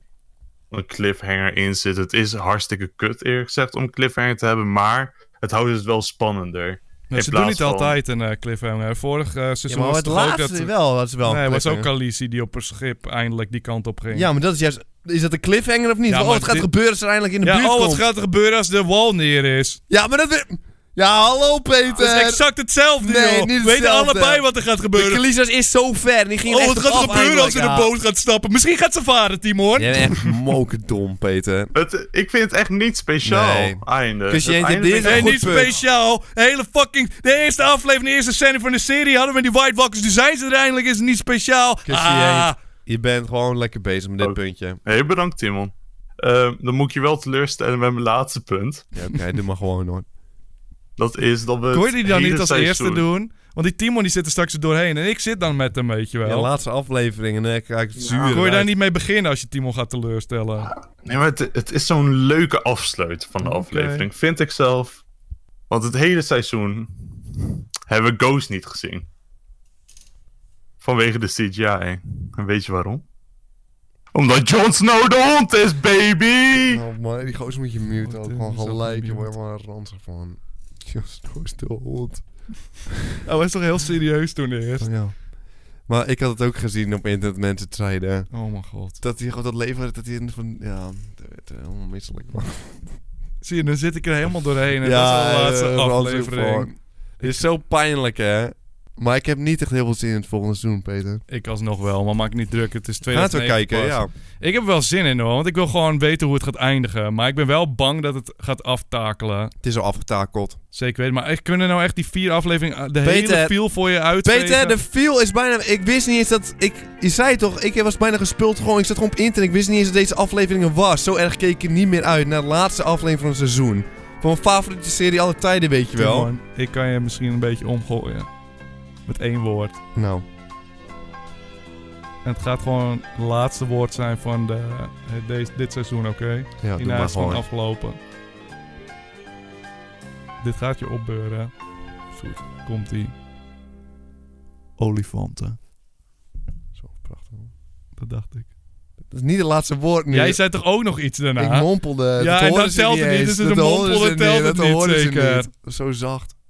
O: een cliffhanger in zit. Het is hartstikke kut eerlijk gezegd om een cliffhanger te hebben, maar het houdt het wel spannender.
A: Nee,
O: In
A: ze doen
O: plaats
A: niet
O: van-
A: altijd een eh, cliffhanger. Vorig eh, seizoen
B: maar
A: was
B: het
A: toch ook
B: laatste
A: dat...
B: wel, dat is wel een
A: Nee, was ook
B: cliffhanger.
A: Khaleesi die op een schip eindelijk die kant op ging.
B: Ja, maar dat is juist... Is dat een cliffhanger of niet?
A: Ja,
B: oh,
A: maar
B: het gaat
A: dit-
B: gebeuren als er eindelijk in de
A: Ja,
B: buurt
A: oh,
B: komt.
A: wat gaat er gebeuren als de wal neer is?
B: Ja, maar dat... we- Ja, hallo Peter.
A: Dat is exact hetzelfde,
B: Eh, Nee,
A: joh.
B: niet
A: We weten
B: hetzelfde.
A: allebei wat er gaat gebeuren.
B: De Kalisas is zo ver. Die ging
A: oh,
B: echt
A: wat gaat er
B: eraf
A: gebeuren als ze
B: eindelijk,
A: de
B: ja.
A: boot gaat stappen? Misschien gaat ze varen, Timor.
B: Jij bent echt mokerdom, Peter.
O: Het, ik vind het echt niet speciaal.
B: Nee.
O: Einde.
B: Dus je
O: Het
B: eentje-
O: einde
B: dit
O: vind
B: is
O: ik
B: een
O: echt
B: goed
A: Niet speciaal. De hele fucking... De eerste aflevering, de eerste scène van de serie hadden we die White Walkers. Nu zijn ze er eindelijk, is het niet speciaal.
B: Kus je
A: Ah. Oh.
B: eend. Je bent gewoon lekker bezig met dit puntje.
O: Hey, bedankt, Timon. Ehm, dan moet ik je wel teleurstellen met mijn laatste punt.
B: Ja, oké, doe maar gewoon hoor.
O: Dat is dat we.
A: Kon je
O: het
A: die dan
O: hele
A: niet als
O: seizoen-
A: eerste doen? Want die Timon die zit er straks doorheen. En ik zit dan met hem, weet je wel.
B: Ja, laatste aflevering en dan krijg ik het zuur.
A: Kon je daar
B: eruit.
A: niet mee beginnen als je Timon gaat
B: Oh,
A: teleurstellen?
O: Nee, maar het, het is zo'n leuke afsluit van de aflevering, vind ik zelf. Want het hele seizoen hebben we Ghost niet gezien. Vanwege de CGI. En weet je waarom? Omdat Jon Snow de hond is, baby!
B: Oh man, die gozer moet je muten.
A: Oh,
B: Ook gewoon gelijk. Je wordt helemaal ranzig van. Just is de hond.
A: Oh, hij was toch heel serieus toen eerst?
B: Oh, Ja. Maar ik had het ook gezien op internet mensen treden.
A: Oh mijn god.
B: Dat hij gewoon dat leven had, dat hij in van... Ja, dat werd er helemaal misselijk van.
A: Zie je, dan zit ik er helemaal doorheen. En dat is al de laatste
B: eh, ranzig
A: aflevering.
B: van. Dit is zo pijnlijk hè. Maar ik heb niet echt heel veel zin in het volgende seizoen, Peter.
A: Ik alsnog wel, maar maak niet druk. Het is
B: Laten we
A: 2019
B: kijken,
A: pas. Ik heb er wel zin in hoor, want ik wil gewoon weten hoe het gaat eindigen. Maar ik ben wel bang dat het gaat aftakelen.
B: Het is al afgetakeld.
A: Zeker weten, maar echt, kunnen nou echt die vier afleveringen... De
B: Peter,
A: hele feel voor je uitvegen?
B: Peter, de feel is bijna... Ik wist niet eens dat... Ik, je zei toch, ik was bijna gespult gewoon. Ik zat gewoon op internet. Ik wist niet eens dat deze aflevering er was. Zo erg keek ik er niet meer uit naar de laatste aflevering van het seizoen. Van mijn favoriete serie alle tijden, weet je wel.
A: Timon, ik kan je misschien een beetje omgooien. Met één woord.
B: Nou.
A: En het gaat gewoon het laatste woord zijn van de, het- deze- dit seizoen, oké?
B: doe
A: Hierna
B: maar
A: is het gewoon
B: gewoon.
A: afgelopen. Dit gaat je opbeuren. Goed, komt-ie. Olifanten.
B: Zo prachtig.
A: Dat dacht ik.
B: Dat is niet het laatste woord nu.
A: Jij zei toch ook nog iets daarna?
B: Ik mompelde.
A: Ja,
B: dat
A: en
B: hoorden
A: dat
B: ze
A: telt
B: niet
A: het niet.
B: eens.
A: Dus het
B: Dat
A: een
B: hoorden ze
A: mompelen
B: niet,
A: telt het
B: dat
A: niet
B: hoorden ze
A: zeker.
B: niet. Zo zacht.